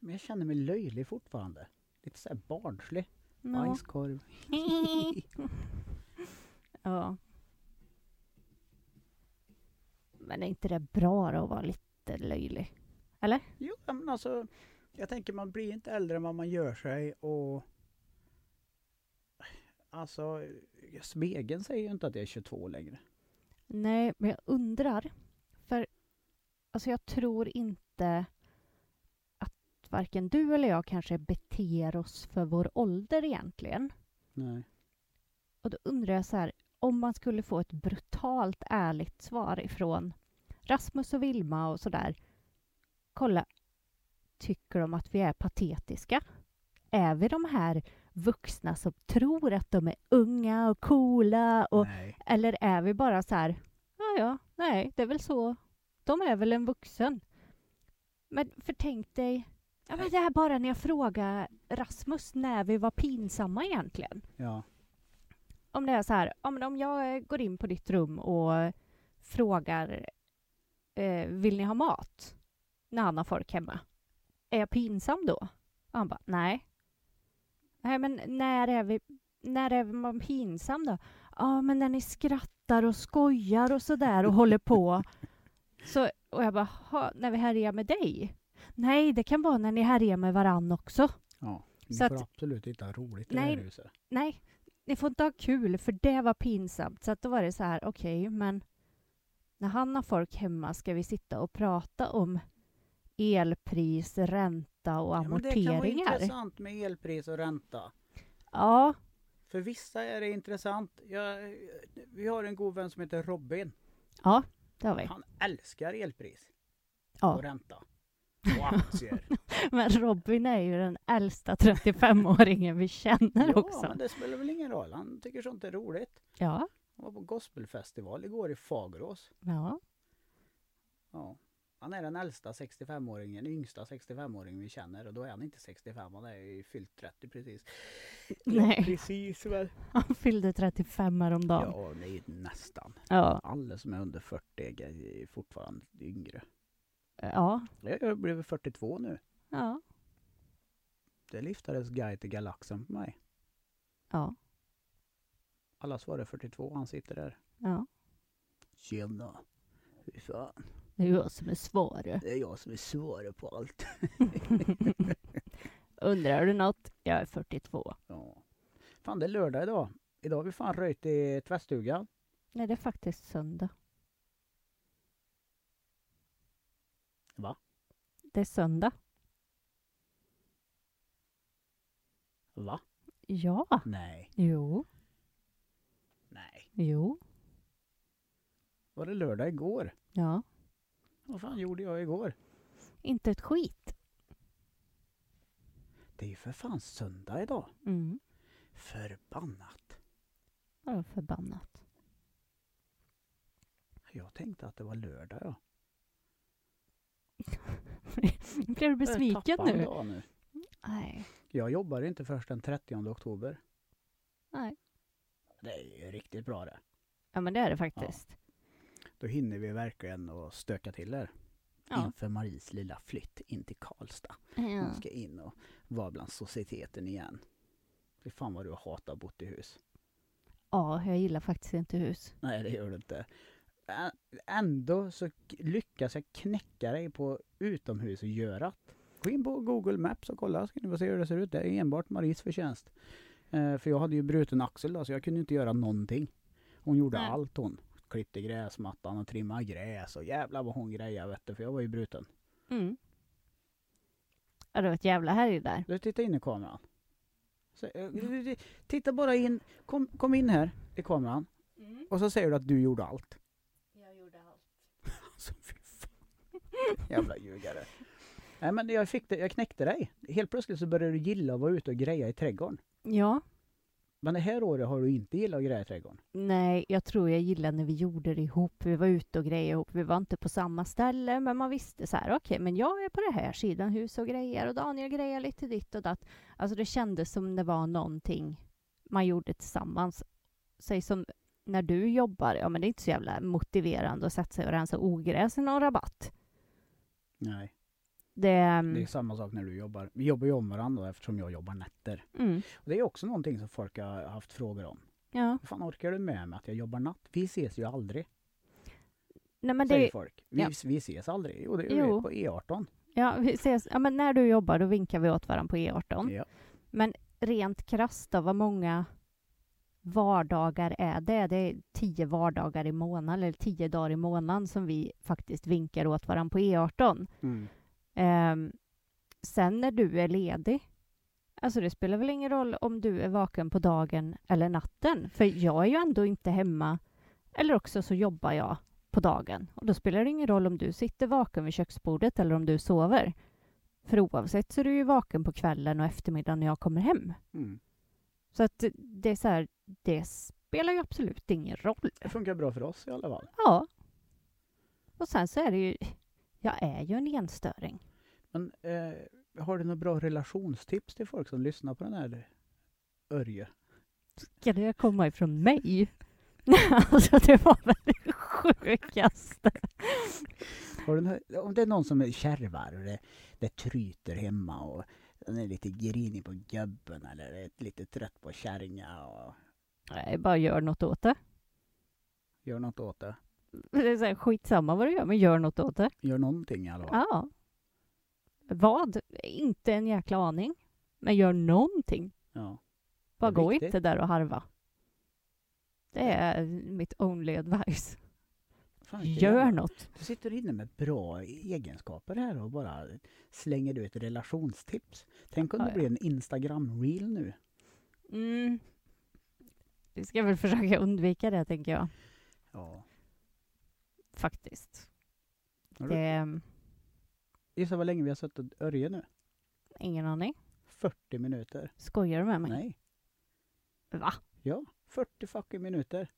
Men jag känner mig löjlig fortfarande. Lite såhär barnslig.
No.
Bajskorv.
ja. Men är inte det bra då att vara lite löjlig?
Jo, ja, men alltså. Jag tänker man blir inte äldre än vad man gör sig och... Alltså, spegeln säger ju inte att jag är 22 längre.
Nej, men jag undrar. För alltså jag tror inte att varken du eller jag kanske beter oss för vår ålder egentligen.
Nej.
Och då undrar jag så här, om man skulle få ett brutalt ärligt svar ifrån Rasmus och Vilma och sådär. Kolla, tycker de att vi är patetiska? Är vi de här vuxna som tror att de är unga och coola? Och,
Nej.
eller är vi bara så här, ja ja, nej, det är väl så. De är väl en vuxen. Men för tänk dig, ja, men det här bara när jag frågar Rasmus när vi var pinsamma egentligen
Ja.
om det är så här, om, om jag eh, går in på ditt rum och eh, frågar eh, vill ni ha mat? När han har folk hemma. Är jag pinsam då? Och han bara nej. Nej men när är vi när är man pinsam då? Ja men när ni skrattar och skojar och sådär och håller på. Så, och jag bara, "Ha, när vi härjar med dig? Nej, det kan vara när ni härjar med varann också.
ja. Ni
Så
får
att-
absolut inte ha roligt i
Nej.
det här huset.
nej, ni får inte ha kul för det var pinsamt. Så att då var det så här, okej, men när han har folk hemma ska vi sitta och prata om elpris, ränta och
Ja, men det kan vara
amorteringar. Ja,
intressant med elpris och ränta.
ja,
För vissa är det intressant. Jag, vi har en god vän som heter Robin.
det har vi.
Han älskar elpris
Ja.
och ränta. Och aktier.
Men Robin är ju den äldsta 35-åringen vi känner
ja,
också.
men det spelar väl ingen roll. Han tycker sånt är roligt.
Ja,
Han var på gospelfestival igår i Fagerås.
Ja.
Ja. Han är den äldsta 65-åringen, den yngsta 65-åringen vi känner och då är han inte 65, han är ju fyllt 30 precis.
Nej,
Precis väl.
han fyllde 35 häromdagen.
Ja, det är ju nästan.
Ja.
Alla som är under 40 är fortfarande yngre.
Ja.
Jag har blivit 42 nu.
Ja.
Det lyftades Guide till Galaxen på mig.
Ja.
Alla svarar 42, han sitter där.
ja.
Tjena! Fy fan,
Det är jag som är svaret.
det är jag som är svaret på allt.
Undrar du något? Jag är 42.
Ja. Fan, det är lördag idag. Idag har vi fan röjt i tvättstugan.
Nej, det är faktiskt söndag.
Va?
Det är söndag.
Va?
Ja.
Nej.
Jo.
Nej.
Jo.
Var det lördag igår?
Ja.
Vad fan gjorde jag igår?
Inte ett skit.
Det är ju för fan söndag idag.
Mm.
Förbannat.
Vadå förbannat?
Jag tänkte att det var lördag ja.
Blev du besviken
Tappar en
nu?
dag nu.
Nej.
Jag jobbar inte först den 30 oktober.
Nej.
Det är ju riktigt bra det.
Ja, men det är det faktiskt.
Då hinner vi verkligen att stöka till er.
Ja.
Inför Maries lilla flytt in till Karlstad. Hon
Ja.
ska in och vara bland societeten igen. Fy fan vad du hatar bott i hus.
ja, jag gillar faktiskt inte hus.
Nej, det gör du inte. Ä- Ändå så k- lyckas jag knäcka dig på utomhusgörat. Gå in på Google Maps och kolla så kan ni få se hur det ser ut. Det är enbart Maries förtjänst. Eh, för jag hade ju bruten axel då, så jag kunde inte göra någonting. Hon gjorde
Nej.
allt hon. Klippte gräsmattan och trimmade gräs och jävlar vad hon grejade vet du, för jag var ju bruten.
Mm. Ja, det var ett jävla härj där.
Du, titta in i kameran. Så, eh, du- du- titta bara in. Kom, kom in här i kameran.
Mm.
Och så säger du att du gjorde allt.
Jag gjorde allt.
Alltså fy fan. Jävla ljugare. Nej men jag, fick det, jag knäckte dig. Helt plötsligt så började du gilla att vara ute och greja i trädgården.
Ja.
Men det här året har du inte gillat att greja i trädgården.
Nej, jag tror jag gillade när vi gjorde det ihop. Vi var ute och grejade ihop. Vi var inte på samma ställe, men man visste så här, okej, men jag är på den här sidan hus och grejer och Daniel grejer lite ditt och datt. Alltså det kändes som det var någonting man gjorde tillsammans. Säg som när du jobbar, ja men det är inte så jävla motiverande att sätta sig och rensa ogräs i någon rabatt.
Nej.
Det... mm,
Det är samma sak när du jobbar. Vi jobbar ju om varandra eftersom jag jobbar nätter.
Mm,
Och det är också någonting som folk har haft frågor om.
ja.
Hur fan orkar du med mig att jag jobbar natt? Vi ses ju aldrig,
Nej, men
säger
det,
folk. Vi,
ja.
vi ses aldrig. Jo, det gör
Jo.
vi på E E18.
ja, vi ses. Ja, men när du jobbar, då vinkar vi åt varandra på E E18.
Ja.
Men rent krasst då, vad många vardagar är det? Det är tio vardagar i månaden, eller tio dagar i månaden som vi faktiskt vinkar åt varandra på E18.
Mm.
Ehm, sen när du är ledig, alltså det spelar väl ingen roll om du är vaken på dagen eller natten, för jag är ju ändå inte hemma, eller också så jobbar jag på dagen. Och då spelar det ingen roll om du sitter vaken vid köksbordet eller om du sover. För oavsett så är du ju vaken på kvällen och eftermiddagen när jag kommer hem.
Mm.
Så att det är så här, det spelar ju absolut ingen roll.
Det funkar bra för oss i alla fall.
Ja. Och sen så är det ju, jag är ju en enstöring.
Men eh, har du några bra relationstips till folk som lyssnar på den här Örje?
Ska det komma ifrån mig? alltså det var väl det sjukaste.
Har du nå- om det är någon som är kärvar och det, det tryter hemma och den är lite grinig på gubben eller är lite trött på kärringar och
Nej, bara gör något åt det.
gör något åt det.
Det är så här, skitsamma vad du gör, men gör något åt det.
Gör någonting i alla fall.
Ja. Vad? Inte en jäkla aning. Men gör någonting.
Ja.
Bara
Det är
gå
viktigt.
inte där och harva. Det är mitt only advice.
Fan, vilken
Gör
jävla-
något.
Du sitter inne med bra egenskaper här och bara slänger ut relationstips. Tänk om
Ja,
det
ja.
blir en Instagram-reel nu.
Mm. Vi ska väl försöka undvika det, tänker jag.
Ja.
Faktiskt.
Har du-
Det ehm, är
Gissa vad länge vi har suttit Örje nu?
ingen aning.
40 minuter.
Skojar du med mig?
Nej.
Va?
Ja, 40 fucking minuter.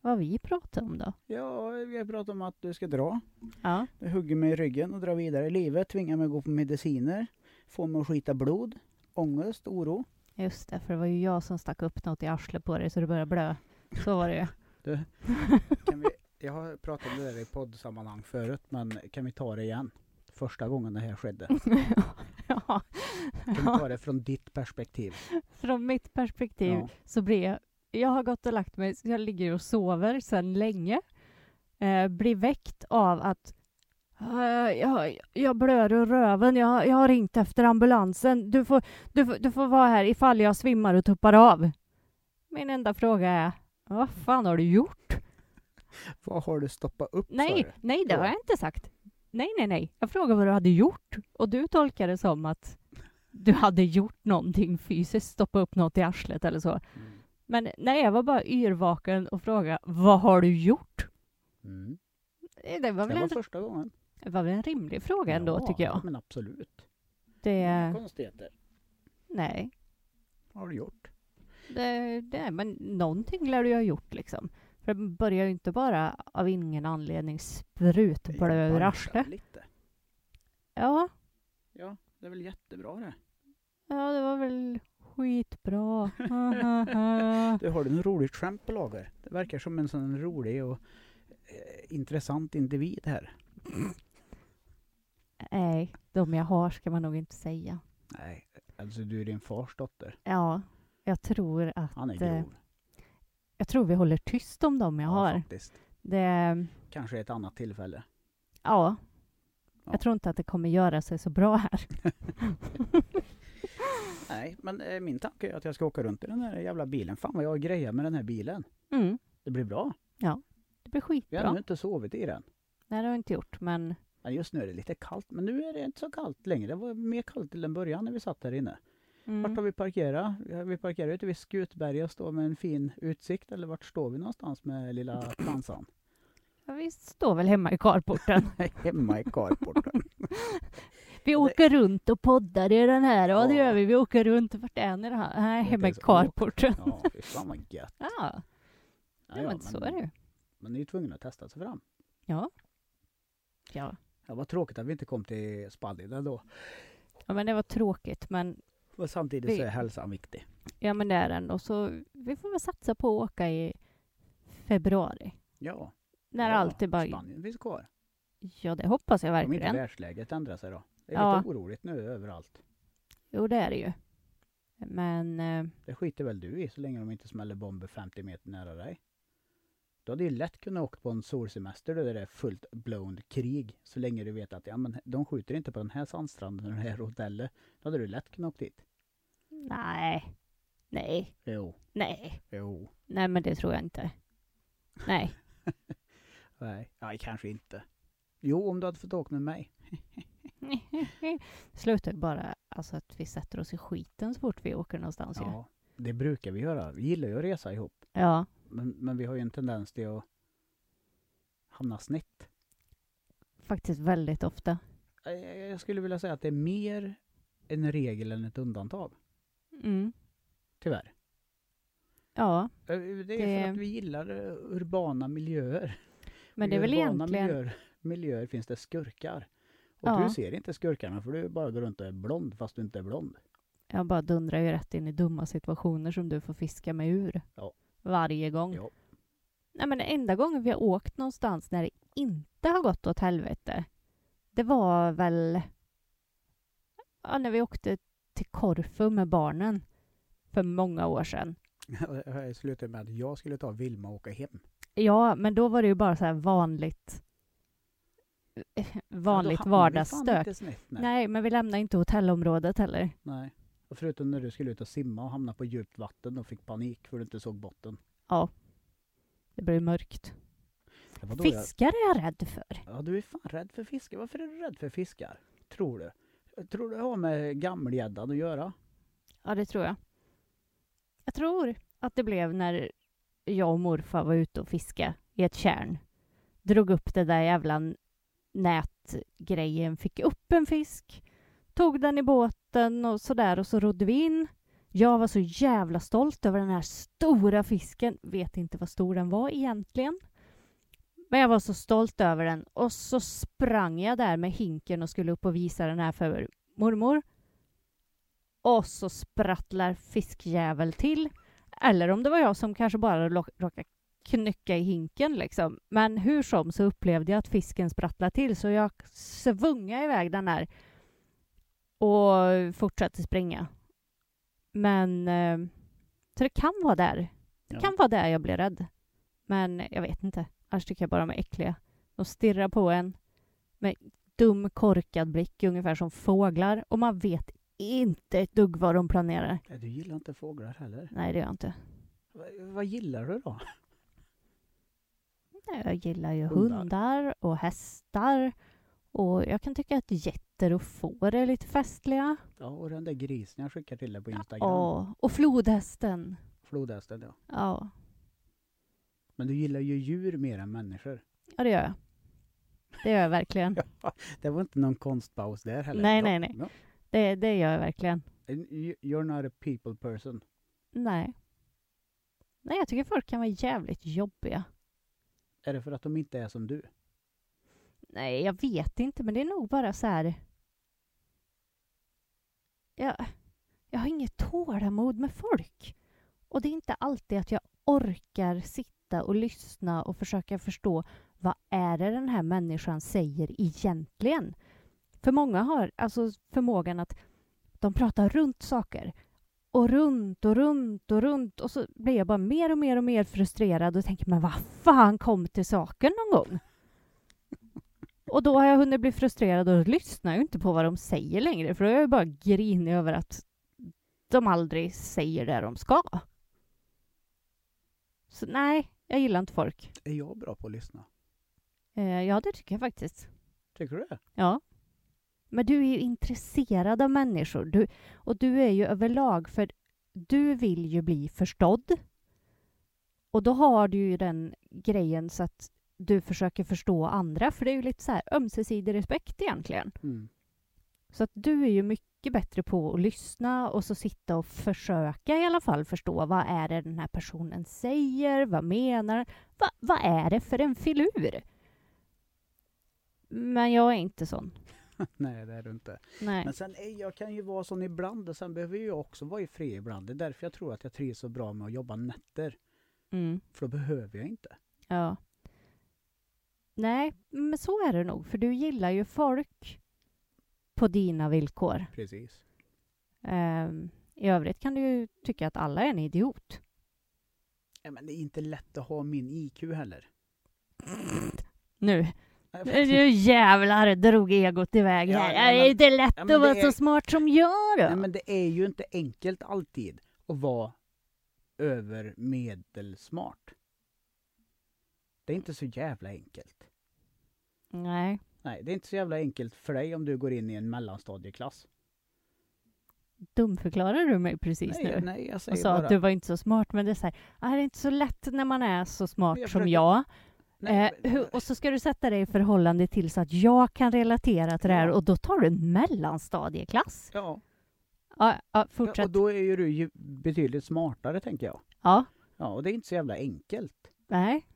vad vi pratade om då.
Ja, vi har pratat om att du ska dra.
Ja,
Du hugger mig i ryggen och drar vidare i livet. Tvingar mig att gå på mediciner. Får mig att skita blod. Ångest, oro.
just det, för det var ju jag som stack upp något i arslet på dig så du började blöda. Så var det ju.
Kan vi, jag har pratat om det där i poddsammanhang förut, men kan vi ta det igen? Första gången det här skedde. Kan
ja.
vi
Ja.
ta det från ditt perspektiv?
Från mitt perspektiv
Ja.
så blir jag... Jag har gått och lagt mig, så jag ligger och sover sedan länge. Eh, blir väckt av att "Eh, jag, jag blöder ur röven, jag, jag har ringt efter ambulansen. Du får, du, får- du får vara här ifall jag svimmar och tuppar av. Min enda fråga är, vad fan har du gjort?
Vad har du stoppat upp? sa
Nej,
du?
nej det
Ja.
har jag inte sagt. Nej, nej, nej. Jag frågade vad du hade gjort och du tolkade det som att du hade gjort någonting fysiskt, stoppa upp något i arslet eller så.
Mm.
Men nej, jag var bara yrvaken och frågade vad har du gjort?
Mm.
Eh, Det var väl,
Det var
en,
första gången.
det var väl en rimlig fråga ändå,
Ja,
tycker jag.
Men absolut.
Det,
Konstigheter.
nej,
Vad har du gjort?
det, det, men någonting lär du ju ha gjort liksom. För det börjar ju inte bara av ingen anledning
Jag
sprutblöda ur
banschar
arslet.
Lite.
Ja,
Ja, det är väl jättebra det.
ja, det var väl skitbra. Ha, ha, ha.
Du, har du något roligt skämt på lager? Det verkar som en sån rolig och eh, intressant individ här.
Nej, de jag har ska man nog inte säga.
Nej, alltså du är din fars dotter.
Ja, jag tror att...
Han är
eh,
grov.
Jag tror vi håller tyst om dem jag har.
faktiskt.
Det,
Kanske ett annat tillfälle.
ja.
Ja.
Jag tror inte att det kommer göra sig så bra här.
Nej, men eh, min tanke är att jag ska åka runt i den här jävla bilen. Fan vad jag grejer med den här bilen.
Mm,
Det blir bra.
det blir
Vi har ännu
skitbra.
inte sovit i den.
Nej, det har jag inte gjort, men
Ja, Just nu är det lite kallt, men nu är det inte så kallt längre. Det var mer kallt till en början när vi satt här inne. Vart har
mm,
vi parkerat? Ja, Vi parkerar ute vid Skutberga och står med en fin utsikt. Eller vart står vi någonstans med lilla plansan?
ja, vi står väl hemma i carporten.
Hemma i carporten.
Vi åker runt och poddar i den här. Ja, det
Ja.
gör vi. Vi åker runt. Vart är ni? då? Nej,
inte
hemma i
ens åkt.
carporten.
Ja, fy fan vad gött.
Ja,
Ja,
ja,
ja,
men så är det ju.
Man är ju tvungen att testa sig fram.
Ja. Ja.
Ja, vad tråkigt att vi inte kom till Spallida då.
ja, men det var tråkigt, men
Men samtidigt
Vi-
så är hälsan viktig.
Ja, men det är den. Och så vi får väl satsa på att åka i februari.
Ja,
När
ja,
allt är bara...
Spanien finns kvar.
Ja, det hoppas jag
Om inte
verkligen.
världsläget ändrar sig då. Det är
Ja.
lite oroligt nu överallt.
Jo, det är det ju. Men eh,
Det skiter väl du i så länge de inte smäller bomber 50 meter nära dig. Du hade ju lätt kunnat åka på en solsemester där det är fullt blown krig. Så länge du vet att ja, men de skjuter inte på den här sandstranden och det här hotellet. Då hade du lätt kunnat åka dit.
nej. Nej.
Jo,
Nej.
jo,
Nej, men det tror jag inte. Nej.
nej, nej kanske inte. Jo, om du hade fått åka med mig.
Det slutar ju bara alltså, att vi sätter oss i skiten så fort vi åker någonstans. Ja.
Ja, det brukar vi göra. Vi gillar ju att resa ihop.
ja.
Men, men vi har ju en tendens till att hamna snett.
Faktiskt väldigt ofta.
Eh, Jag skulle vilja säga att det är mer en regel än ett undantag,
Mm.
tyvärr.
Ja,
Eh, Det är
Det-
för att vi gillar eh, urbana miljöer.
men
I
det är väl
urbana
egentligen...
miljöer, miljöer finns det skurkar. Och
Ja.
du ser inte skurkarna för du bara går runt och är blond fast du inte är blond.
Jag bara dundrar ju rätt in i dumma situationer som du får fiska mig ur.
Ja.
Varje gång.
Ja.
Nej, men den enda gången vi har åkt någonstans när det inte har gått åt helvete, det var väl ja, när vi åkte till Korfu med barnen för många år sedan.
Jag slutade med att jag skulle ta Vilma och åka hem.
Ja, men då var det ju bara så här vanligt vanligt vardagsstök.
Snett, nej. Nej.
Nej, men vi lämnade inte hotellområdet heller.
nej. Och förutom när du skulle ut och simma och hamna på djupt vatten och fick panik för du inte såg botten.
Det blev mörkt.
Det var då jag-
Fiskar är jag rädd för.
Ja, du är fan rädd för fiskar. Varför är du rädd för fiskar? Tror du? Tror du det har med gammelgäddan att göra?
Ja, det tror jag. Jag tror att det blev när jag och morfar var ute och fiskade i ett kärn. Drog upp det där jävla nätgrejen, fick upp en fisk, tog den i båten och sådär och så rodde vi in. Jag var så jävla stolt över den här stora fisken. Vet inte vad stor den var egentligen. Men jag var så stolt över den och så sprang jag där med hinken och skulle upp och visa den här för mormor. Och så sprattlar fiskjävel till. Eller om det var jag som kanske bara lo- råkade knycka i hinken liksom. Men hur som så upplevde jag att fisken sprattlade till så jag svungade iväg den här och fortsatte springa. Men eh, så det kan vara där. Det
Ja.
kan vara där jag blir rädd. Men jag vet inte. Annars tycker jag bara de är äckliga. De stirrar på en med dum korkad blick, ungefär som fåglar. Och man vet inte ett dugg vad de planerar.
Nej, Du gillar inte fåglar heller.
Nej, det gör jag inte.
Va- vad gillar du då?
Nej, Jag gillar ju
Hundar.
hundar. och hästar. Och jag kan tycka att getter och får är lite festliga.
Ja, och den där grisen jag skickar till dig på Instagram.
Ja, och flodhästen.
Flodhästen ja.
Ja,
Men du gillar ju djur mer än människor.
ja det gör jag. Det gör jag verkligen.
Det var inte någon konstpaus där heller.
Nej,
Ja,
nej, nej.
ja.
Det, det gör jag verkligen.
You- You're not a people person.
Nej. Nej, jag tycker folk kan vara jävligt jobbiga.
Är det för att de inte är som du?
Nej, jag vet inte, men det är nog bara så här... Jag, jag har inget tålamod med folk. Och det är inte alltid att jag orkar sitta och lyssna och försöka förstå vad är det den här människan säger egentligen? För många har alltså förmågan att de pratar runt saker. Och runt och runt och runt och så blir jag bara mer och mer och mer frustrerad och tänker men vad fan kom till saken någon gång? Och då har jag hunnit bli frustrerad och lyssnar ju inte på vad de säger längre för då är jag ju bara grinig över att de aldrig säger det de ska. Så nej, jag gillar inte folk.
Är jag bra på att lyssna?
Eh, ja, det tycker jag faktiskt.
Tycker du det?
Ja. Men du är ju intresserad av människor du, och du är ju överlag för du vill ju bli förstådd. Och då har du ju den grejen så att du försöker förstå andra för det är ju lite så här ömsesidig respekt egentligen.
Mm.
Så att du är ju mycket bättre på att lyssna och så sitta och försöka i alla fall förstå vad är det den här personen säger, vad menar den? Va, vad är det för en filur? Men jag är inte sån.
Nej, det är du inte.
Nej.
Men sen är, jag kan ju vara sån ibland och sen behöver ju jag också vara i fred ibland. Det är därför jag tror att jag trivs så bra med att jobba nätter.
Mm,
För då behöver jag inte.
ja. Nej, men så är det nog, för du gillar ju folk på dina villkor.
Precis.
Ehm, I övrigt kan du ju tycka att alla är en idiot.
Ja, men det är inte lätt att ha min IQ heller.
Nu,
Nej,
nu jävlar drog egot iväg
Ja,
här.
nej,
det
men-
är inte lätt
ja,
att
men
vara
det är-
så smart som jag då.
Nej, men det är ju inte enkelt alltid att vara övermedelsmart. Det är inte så jävla enkelt.
Nej,
Nej, det är inte så jävla enkelt för dig om du går in i en mellanstadieklass.
dumförklarar du mig precis
Nej,
nu?
jag- nej, jag säger
och sa
bara...
att du var inte så smart, men det är så här, ah, det är inte så lätt när man är så smart
jag
som
försöker-
jag.
nej,
eh, hur, och så ska du sätta dig i förhållande till så att jag kan relatera till det här
Ja.
och då tar du en mellanstadieklass.
Ja,
Ja, ja
ja, och
fortsätt. Ja,
då är ju du ju betydligt smartare, tänker jag. Ja, och det är inte så jävla enkelt.
nej.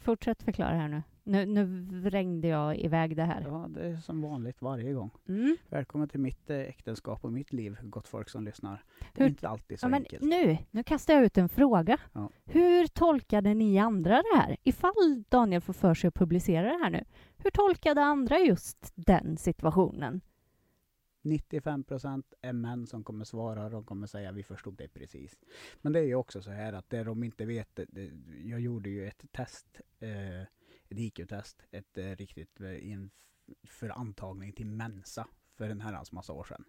Fortsätt förklara här nu. Nu, nu vrängde jag iväg det här.
Ja, det är som vanligt varje gång.
Mm.
Välkommen till mitt eh, äktenskap och mitt liv, gott folk som lyssnar. Det är
Hur-
inte alltid så
Ja, men
enkelt.
nu, nu kastar jag ut en fråga.
Ja.
Hur tolkade ni andra det här? Ifall Daniel får för sig att publicera det här nu. Hur tolkade andra just den situationen?
95 procent är män som kommer svara. De kommer säga vi förstod det precis. Men det är ju också så här att det de inte vet. det- det- Jag gjorde ju ett test, eh, ett IQ-test, ett eh, riktigt eh, in, för antagning till Mensa för en herrans massa år sedan.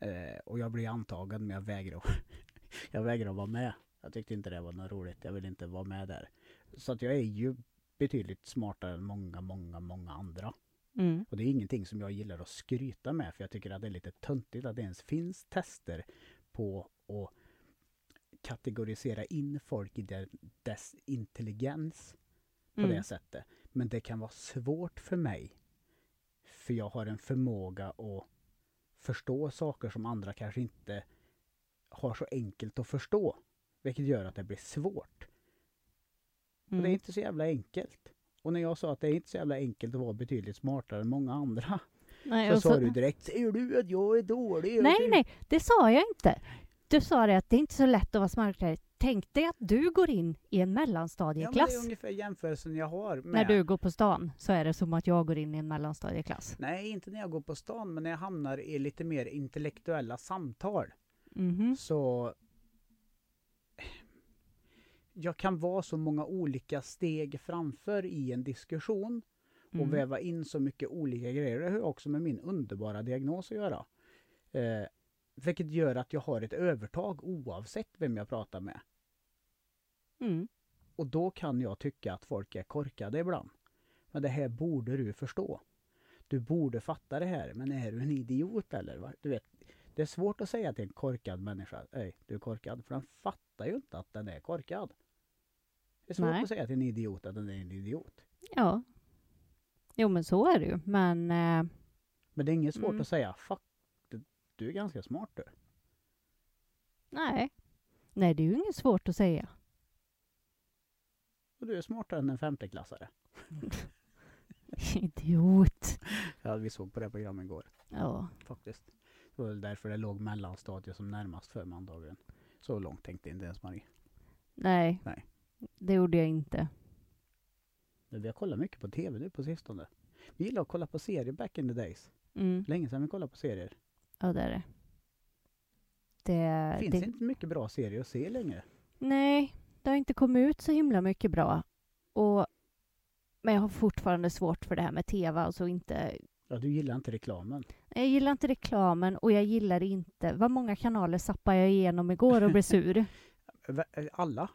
Eh, och jag blev antagen men jag vägrade, att- jag vägrade att vara med. Jag tyckte inte det var något roligt. Jag ville inte vara med där. Så att jag är ju betydligt smartare än många, många, många andra.
Mm.
Och det är ingenting som jag gillar att skryta med, för jag tycker att det är lite töntigt att det ens finns tester på att kategorisera in folk i de- dess intelligens på
Mm.
det sättet. Men det kan vara svårt för mig, för jag har en förmåga att förstå saker som andra kanske inte har så enkelt att förstå. Vilket gör att det blir svårt. Och det är
Mm.
inte så jävla enkelt. Och när jag sa att det är inte så jävla enkelt att vara betydligt smartare än många andra.
Nej,
Så
och
sa du direkt, säger du att jag är dålig?
nej, nej, det sa jag inte. Du sa det att det är inte så lätt att vara smartare. Tänk dig att du går in i en
Ja, men det
mellanstadieklass.
är ungefär jämförelsen jag har med...
när du går på stan så är det som att jag går in i en mellanstadieklass.
Nej, inte när jag går på stan, men när jag hamnar i lite mer intellektuella samtal.
Mhm.
Så... Jag kan vara så många olika steg framför i en diskussion och
Mm.
väva in så mycket olika grejer. Det har också med min underbara diagnos att göra. Eh, vilket gör att jag har ett övertag oavsett vem jag pratar med.
Mm.
Och då kan jag tycka att folk är korkade ibland. Men det här borde du förstå. Du borde fatta det här. Men är du en idiot eller? Va? Du vet, det är svårt att säga till en korkad människa, Ej, du är korkad. För den fattar ju inte att den är korkad. Det är svårt
Nej.
att säga till en idiot att den är en idiot.
Ja. Jo, men så är det ju. Men eh,
Men det är inget svårt
Mm.
att säga, fuck, du, du är ganska smart du.
nej. Nej, det är ju inget svårt att säga.
Och du är smartare än en femteklassare.
Idiot.
Ja, vi såg på det programmet igår,
Ja.
faktiskt. Det var väl därför det låg mellanstadiet som närmast för mig antagligen. Så långt tänkte inte ens Marie.
Nej.
Nej.
Det gjorde jag inte.
Men Vi har kollat mycket på tv nu på sistone. Vi gillar att kolla på serier back in the days.
Mm.
Länge sedan vi kollade på serier.
Ja, det är det. Det,
Finns
det,
inte mycket bra serier att se längre.
Nej, det har inte kommit ut så himla mycket bra. Och, men jag har fortfarande svårt för det här med tv. Alltså inte,
Ja, du gillar inte reklamen.
jag gillar inte reklamen och jag gillar inte... Vad många kanaler zappade jag igenom igår och blev sur.
Va- eh, Alla?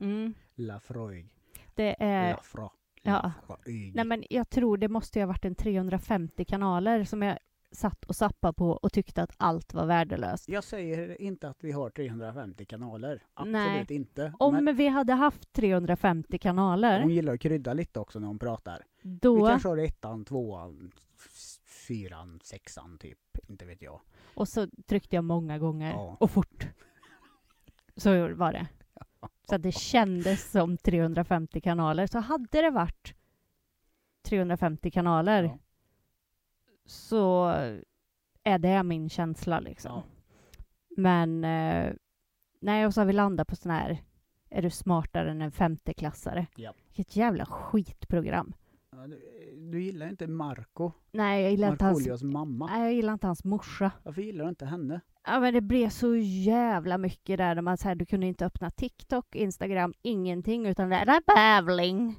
Mm.
Lafroig.
Det är...
Lafra.
Eh, ja.
Lafroig.
Nej, men jag tror det måste ju ha varit en 350 kanaler som jag satt och zappade på och tyckte att allt var värdelöst.
Jag säger inte att vi har 350 kanaler. Absolut
Nej.
inte.
Om
Men
vi hade haft 350
hon
kanaler,
gillar att krydda lite också när hon pratar. Vi
då...
kanske har ettan, tvåan, f- fyran, sexan typ. Inte vet jag.
Och så tryckte jag många gånger,
Ja.
och fort. Så var det. Så att det kändes som 350 kanaler. Så hade det varit 350 kanaler
Ja.
så är det min känsla liksom.
Ja.
Men eh, nej, och så har vi landat på sån här är du smartare än en femteklassare?
Ja.
Vilket jävla skitprogram.
Ja, Du, eh, du gillar inte Marco,
Nej, jag gillar, inte hans,
Markoolios mamma.
nej, jag gillar inte hans morsa.
Varför gillar du inte henne?
Ja men det blev så jävla mycket där, där man så här, du kunde inte öppna TikTok, Instagram, ingenting utan det där bävling.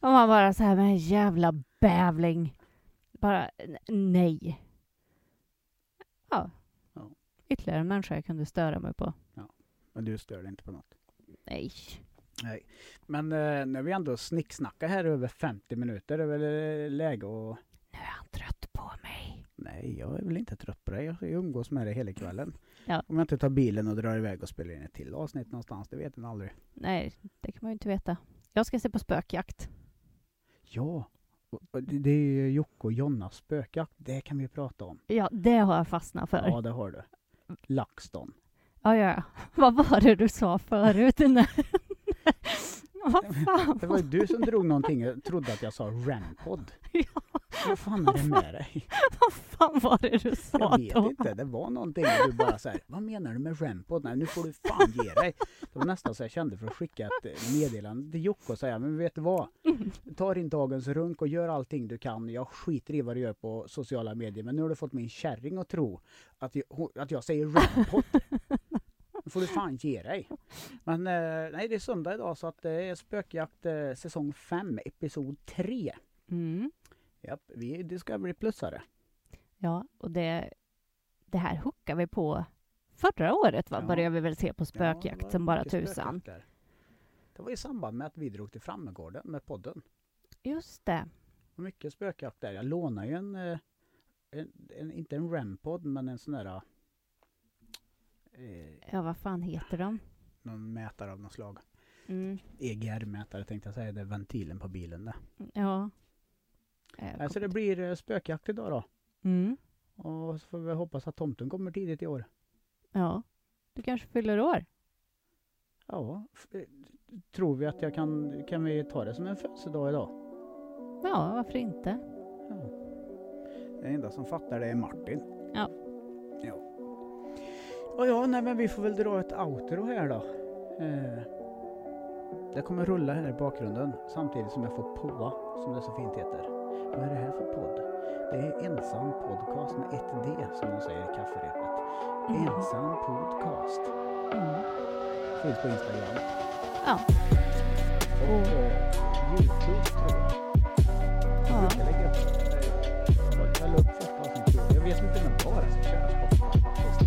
Och man bara så här, men jävla bävling. Bara n- nej. Ja.
Ja.
Ytterligare en människa jag kunde störa mig på.
Men du stör dig inte på något.
Nej.
Nej, men eh, när vi ändå snicksnackar här över 50 minuter, det är väl eh, läge att...
Nu är han trött på mig.
Nej, jag är väl inte trött på dig. Jag ska ju umgås med dig hela kvällen.
Ja.
Om jag inte tar bilen och drar iväg och spelar in ett till avsnitt någonstans, det vet man aldrig.
Nej, det kan man ju inte veta. Jag ska se på spökjakt.
Ja, och- och det det är ju Jocke och Jonas spökjakt. Det kan vi prata om.
Ja, det har jag fastnat för.
Ja, det har du. LaxTon.
Ja, ja, ja. Vad var det du sa förut? Nej. Vad fan?
Det var ju du som drog någonting och trodde att jag sa Rampod.
Ja.
Vad fan är det med dig?
Vad fan var det du sa
Jag vet
då?
inte, det var någonting och du bara så här, vad menar du med rampod? Nej nu får du fan ge dig. Det var nästan så jag kände för att skicka ett eh, meddelande till Jocke och säga, men vet du vad? Ta din dagens runk och gör allting du kan. Jag skiter i vad du gör på sociala medier, men nu har du fått min kärring att tro att jag, hon- att jag säger rampod. Nu får du fan ge dig. Men eh, nej, det är söndag idag så att det är spökjakt eh, säsong 5, episod 3.
Mm.
Japp, vi är Discovery-plussare.
Ja, och det, det här hookade vi på förra året, va?
Ja.
Började vi väl se på
Ja, det var
spökjakt som bara
mycket
tusan.
spökjakt där. Det var i samband med att vi drog till Frammegården med podden.
Just det.
Och Mycket spökjakt där. Jag lånade ju en, eh, en, en inte en rampod, men en sån där eh,
Ja, vad fan heter de?
någon mätare av något slag.
Mm.
EGR-mätare tänkte jag säga, det är ventilen på bilen där.
Ja. Eh,
Nej, så
kom-
det blir eh, spökjakt idag då.
Mm.
Och så får vi hoppas att tomten kommer tidigt i år.
Ja. Du kanske fyller år?
Ja, f- eh, tror vi att jag kan, kan vi ta det som en födelsedag idag?
Ja, varför inte?
Ja. Den enda som fattar det är Martin.
Ja.
Ja. Ja, ja, nej men vi får väl dra ett outro här då. Eh, det kommer rulla här i bakgrunden samtidigt som jag får påa, som det så fint heter. Vad är det här för podd? Det är ensam podcast med ett D som de säger i kafferepet.
Mm.
Ensam podcast.
Mm.
Finns på Instagram.
Ja.
Och eh, Youtube tror jag.
ja.
Jag lägger upp, eh, jag la upp första avsnittet. Jag vet inte om den bara ska köras på faktiskt.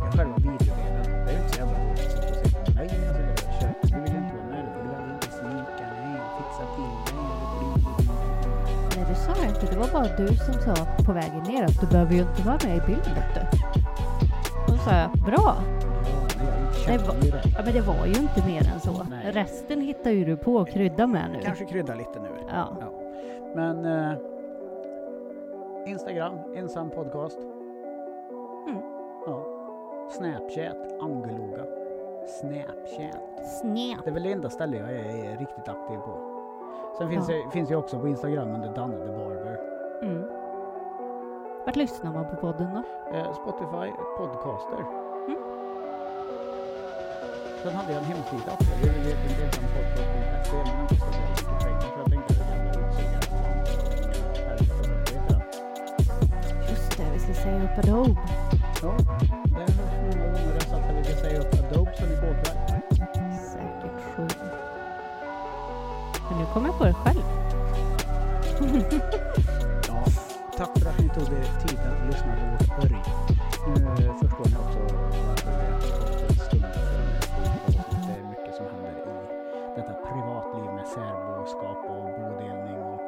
Men Själva videodelen, det är ju inte så jävla roligt att sitta och se på. Nej, jag ska bara köra. Du vill inte vara med, du vill inte sminka dig, fixa till dig, bli, bli, bli.
Nej, det sa jag inte. Det var bara du som sa på vägen ner att du behöver ju inte vara med i bilden. Du. Och då sa jag, bra.
Ja,
Det
men
var-
jag köper ju
Ja, men det var ju inte mer än så.
Nej.
Resten hittar ju du på och krydda med
det.
nu.
Kanske krydda lite nu.
Ja.
Men eh, Instagram, ensam podcast.
Mm.
Ja. Snapchat, Angeloga. Snapchat.
Snap.
Det är väl det enda stället jag är riktigt aktiv på. Sen finns,
Ja.
jag, finns jag också på Instagram under Danne the Barber.
Mm. Vart lyssnar man på podden då?
Eh, Spotify, podcaster.
Mm.
Sen hade jag en hemsida också. Jag vet inte ens om podcast.se E, men den kostade väldigt mycket pengar så jag tänkte att jag jävla utsugare. Vad heter den?
Just det, vi ska säga upp Adobe.
Ja, det har hört många gånger jag satt här och ville säga upp Adobe som igår kväll.
Säkert sju. Men nu kommer jag på det själv.
Ja, tack för att ni tog er tid att lyssna på vårt örj. Nu eh, förstår ni också varför vi har fått en stund för en stund. Det är mycket som händer i detta privatliv med särboskap och bodelning och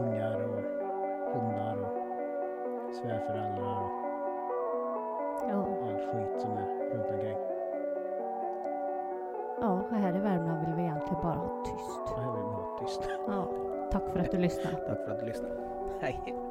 ungar och hundar och svärföräldrar och
Ja.
all skit som är runt omkring.
ja, och här i Värmland vill vi egentligen bara ha tyst.
Så här vill vi ha tyst.
Ja. Tack för att du lyssnade.
Tack för att du lyssnade. Hej.